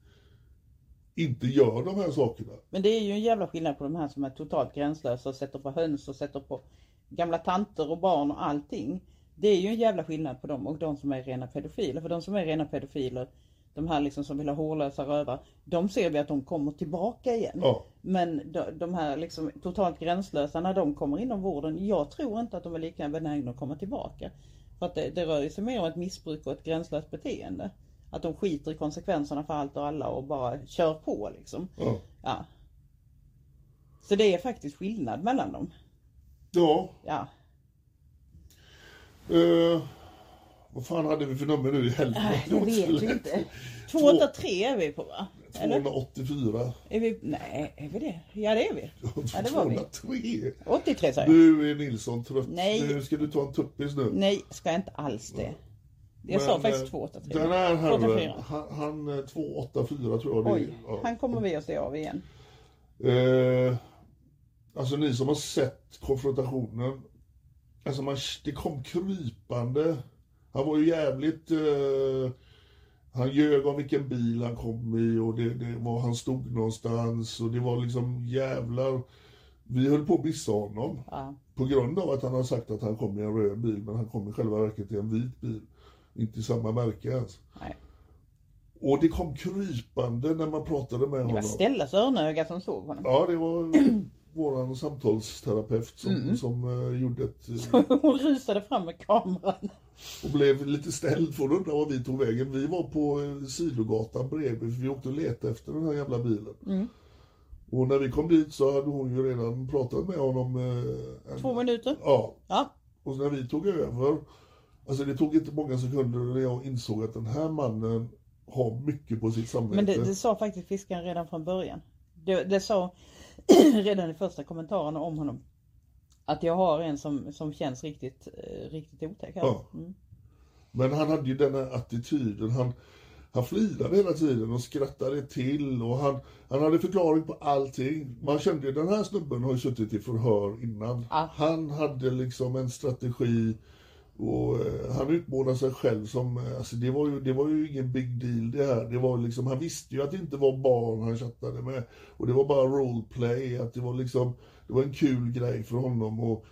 inte gör de här sakerna.
Men det är ju en jävla skillnad på de här som är totalt gränslösa och sätter på höns och sätter på gamla tanter och barn och allting. Det är ju en jävla skillnad på dem och de som är rena pedofiler. För de som är rena pedofiler, de här liksom som vill ha hårlösa rövar, de ser vi att de kommer tillbaka igen.
Ja.
Men de, de här liksom totalt gränslösa, när de kommer inom vården, jag tror inte att de är lika benägna att komma tillbaka. För att det, det rör ju sig mer om ett missbruk och ett gränslöst beteende. Att de skiter i konsekvenserna för allt och alla och bara kör på liksom.
Ja.
Ja. Så det är faktiskt skillnad mellan dem.
ja.
Ja.
Eh, vad fan hade vi för nummer nu i helvete?
Jag vet ju inte. 283 är vi på va? Eller?
284.
Är vi... Nej, är vi det? Ja det är vi. Ja, det var vi.
203.
83 säger jag.
Nu är Nilsson trött.
Nej.
Nu ska du ta en tuppis nu.
Nej, ska jag inte alls det. Jag sa
Men,
faktiskt
eh,
283.
Den här herren,
284.
han, han eh, 284 tror jag det är.
Oj,
Ja.
han kommer vi att se av igen.
Eh, alltså ni som har sett konfrontationen. Alltså man, det kom krypande. Han var ju jävligt... Eh, han ljög om vilken bil han kom i och det, det var han stod någonstans och det var liksom jävlar. Vi höll på att missa honom
Ja.
på grund av att han har sagt att han kom i en röd bil men han kom i själva verket i en vit bil. Inte i samma märke ens.
Nej.
Och det kom krypande när man pratade med
Det var
honom.
Stellas örnöga som såg honom.
Ja, det var vår samtalsterapeut som,
Mm.
som eh, gjorde ett... eh,
Hon rusade fram med kameran.
och blev lite ställd för att undra var vi tog vägen. Vi var på eh, sidogatan bredvid, för vi åkte och letade efter den här jävla bilen.
Mm.
Och när vi kom dit så hade hon ju redan pratat med honom. eh, en-
Två minuter.
Ja,
Ja,
och när vi tog över, alltså det tog inte många sekunder när jag insåg att den här mannen har mycket på sitt samvete.
Men det, det sa faktiskt fiskaren redan från början. Det, det sa redan i första kommentarerna om honom. Att jag har en som, som känns riktigt, eh, riktigt otäck här.
Ja.
Mm.
Men han hade ju den här attityden. Han, han flinade hela tiden och skrattade till och han, han hade förklaring på allting. Man kände ju den här snubben har ju suttit i förhör innan.
Ja.
Han hade liksom en strategi och eh, han utmålade sig själv som, eh, alltså det var, ju, det var ju ingen big deal det här. Det var liksom, han visste ju att det inte var barn han chattade med. Och det var bara roleplay, att det var liksom, det var en kul grej för honom. Och,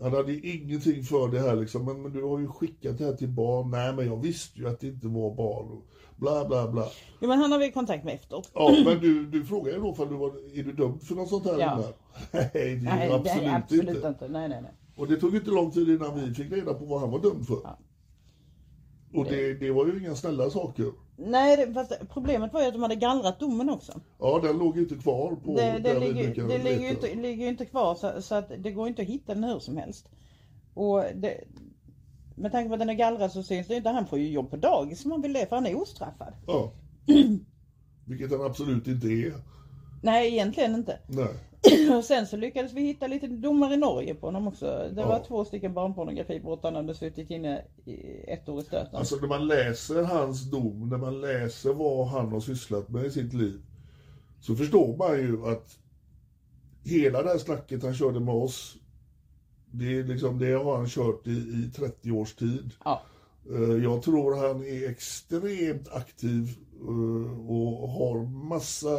han hade ju ingenting för det här liksom, men, men du har ju skickat det här till barn. Nej, men jag visste ju att det inte var barn. Och bla, bla, bla.
Jo, men han har vi kontakt med efteråt.
Ja, men du, du frågar ju då om du var, är du dömd för något sånt här?
Ja.
innan? Nej, det är
Nej,
ju Mm, absolut,
nej, absolut
inte.
inte. Nej, nej, nej.
Och det tog inte lång tid innan vi fick reda på vad han var dömd för.
Ja.
Och det, det var ju inga snälla saker.
Nej, det- fast problemet var ju att de hade gallrat domen också.
Ja, den låg ju inte kvar på
Det, det,
där vi
ligger,
brukar
det ligger, ju
leta.
inte, ligger ju inte kvar så, så att det går inte att hitta den hur som helst. Och det, med tanke på att den är gallrad så syns det ju inte. Han får ju jobb på dagis om han vill det, för han är ostraffad.
Ja. Vilket han absolut inte är.
Nej, egentligen inte.
Nej.
Och sen så lyckades vi hitta lite domar i Norge på honom också. Det
Ja.
var två stycken barnpornografibrott han hade suttit inne i ett år i stöten.
Alltså när man läser hans dom, när man läser vad han har sysslat med i sitt liv, så förstår man ju att hela det här snacket han körde med oss, det, är liksom, det har han kört i, i 30 års tid.
Ja.
Eh, Jag tror han är extremt aktiv eh, och har massa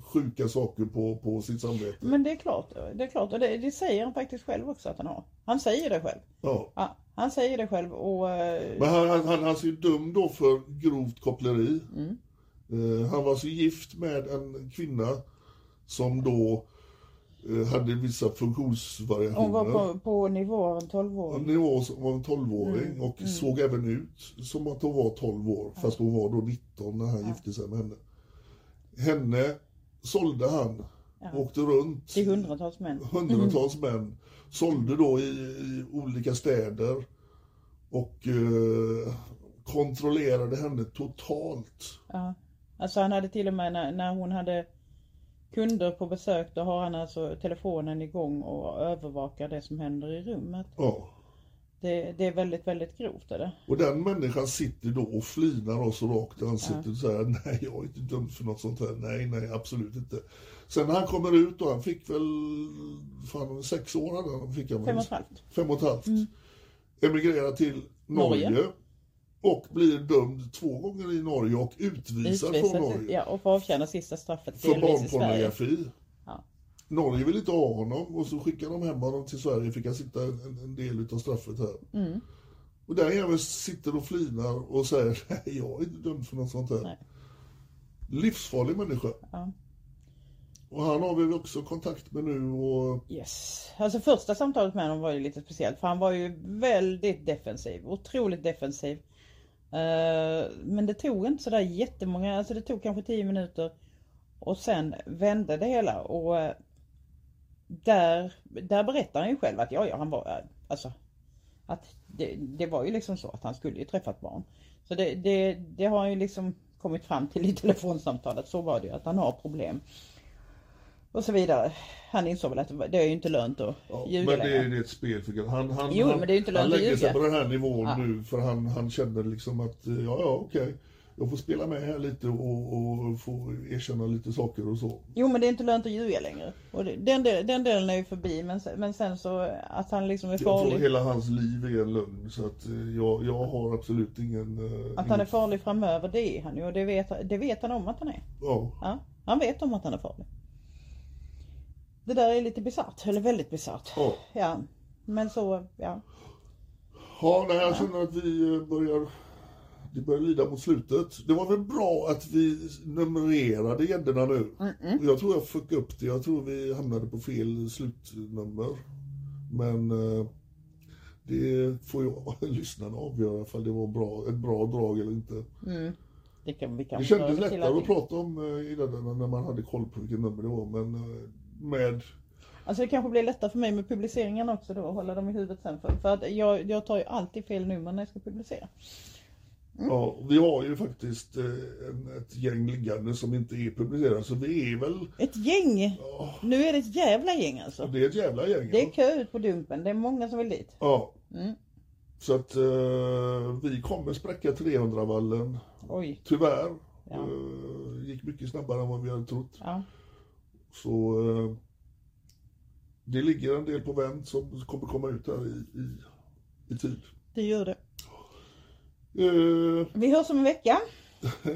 sjuka saker på, på sitt samvete.
Men det är klart, det är klart. Och det, det säger han faktiskt själv också att han har. Han säger det själv.
Ja.
Ja, han säger det själv och... eh,
Men han, han, han, han är ju dömd då för grovt koppleri.
Mm.
Eh, han var så gift med en kvinna som då eh, hade vissa funktionsvariationer.
Hon var på, på nivå av en 12-åring.
Hon var som var en 12-åring
Mm.
och såg även ut som att hon var 12 år, fast hon var då 19 när han gifte sig med henne. Henne sålde han, åkte runt
Till hundratals män.
hundratals män sålde då i, i olika städer och eh, kontrollerade henne totalt.
Ja. Alltså han hade till och med när, när hon hade kunder på besök då har han alltså telefonen igång och övervakar det som händer i rummet.
Ja.
Det, det är väldigt, väldigt grovt är det.
Och den människan sitter då och flinar oss rakt i ansiktet och säger nej jag är inte dömd för något sånt här, nej nej absolut inte. Sen när han kommer ut och han fick väl, fan sex år hade han, fick han väl?
Fem och ett halvt. Mm.
Fem och ett halvt. Emigrerade till Norge.
Norge.
och blir dömd två gånger i Norge och utvisad från
Utvisad
Norge
till, ja, och får avtjäna sista straffet
för
delvis i Sverige.
barnpornografi.
Ja.
E Norge vill inte ha honom och så skickade de hem honom till Sverige fick han sitta en, en- en del utav straffet här.
Mm.
Och där jäveln sitter och flinar och säger nej jag är inte dömd för något sånt här.
Nej.
Livsfarlig människa.
Ja.
Och han har vi väl också kontakt med nu och
Yes. Alltså första samtalet med honom var ju lite speciellt för han var ju väldigt defensiv, otroligt defensiv. Eh, men det tog inte sådär jättemånga, alltså det tog kanske 10 minuter och sen vände det hela och eh, där, där berättar han ju själv att ja, ja, han var, alltså att det, det var ju liksom så att han skulle ju träffa ett barn. Så det, det, det har han ju liksom kommit fram till i telefonsamtalet, så var det ju, att han har problem. Och så vidare. Han insåg väl att det var- det är ju inte lönt att
Ja,
ljuga
men det, är-
längre.
det är ett spel för grann. Han, han,
Jo,
han,
men det är ju inte lönt
han
att
lägger sig
ljuga.
på den här nivån
Ja.
nu för han, han känner liksom att eh, ja, ja, okej. Jag får spela med här lite och, och få erkänna lite saker och så.
Jo men det är inte lönt att ljuga längre. Och det, den, del, den delen är ju förbi men, sen- men sen så att han liksom är
Jag tror
farlig.
hela hans liv är en lögn så att eh, jag, jag har absolut ingen... eh,
Att han är
ingen-
farlig framöver det är han ju och det vet, det vet han om att han är.
Ja.
Ja, han vet om att han är farlig. Det där är lite bisarrt, eller väldigt bisarrt.
Ja.
Ja, men så, ja.
Ja, nej, jag känner att vi eh, börjar, det börjar lida mot slutet. Det var väl bra att vi numrerade gäddorna nu. Jag tror jag fuckade upp det. Jag tror vi hamnade på fel slutnummer. Men eh, det får jag lyssnarna avgöra ifall det var bra, ett bra drag eller inte.
Det, kan, vi kan
Det kändes
röra till
lättare att
allting.
prata om eh, gäddorna när man hade koll på vilket nummer det var. Men eh, med...
Alltså det kanske blir lättare för mig med publiceringen också då, att hålla dem i huvudet sen. För, för att jag, jag tar ju alltid fel nummer när jag ska publicera.
Ja, vi har ju faktiskt eh, en, ett gäng liggande som inte är publicerat så vi är väl
Ett gäng! Nu är det ett jävla gäng alltså.
Och det är ett jävla gäng.
Det är
ja.
kö ut på Dumpen, det är många som vill dit.
Ja.
Mm.
Så att eh, vi kommer spräcka 300-vallen.
Oj,
Tyvärr.
Ja.
Eh, gick mycket snabbare än vad vi hade trott.
ja.
Så eh, det ligger en del på vänt som kommer komma ut här i, i, i tid.
Det gör det.
Eh,
Vi hörs om en vecka.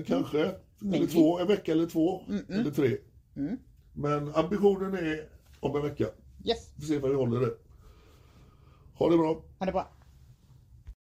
kanske. Eller
Mm. Maybe. Mm.
två, en vecka eller två. Eller tre. Men ambitionen är om en vecka.
Yes,
Vi ser vad vi håller det. Ha det bra.
ha det bra.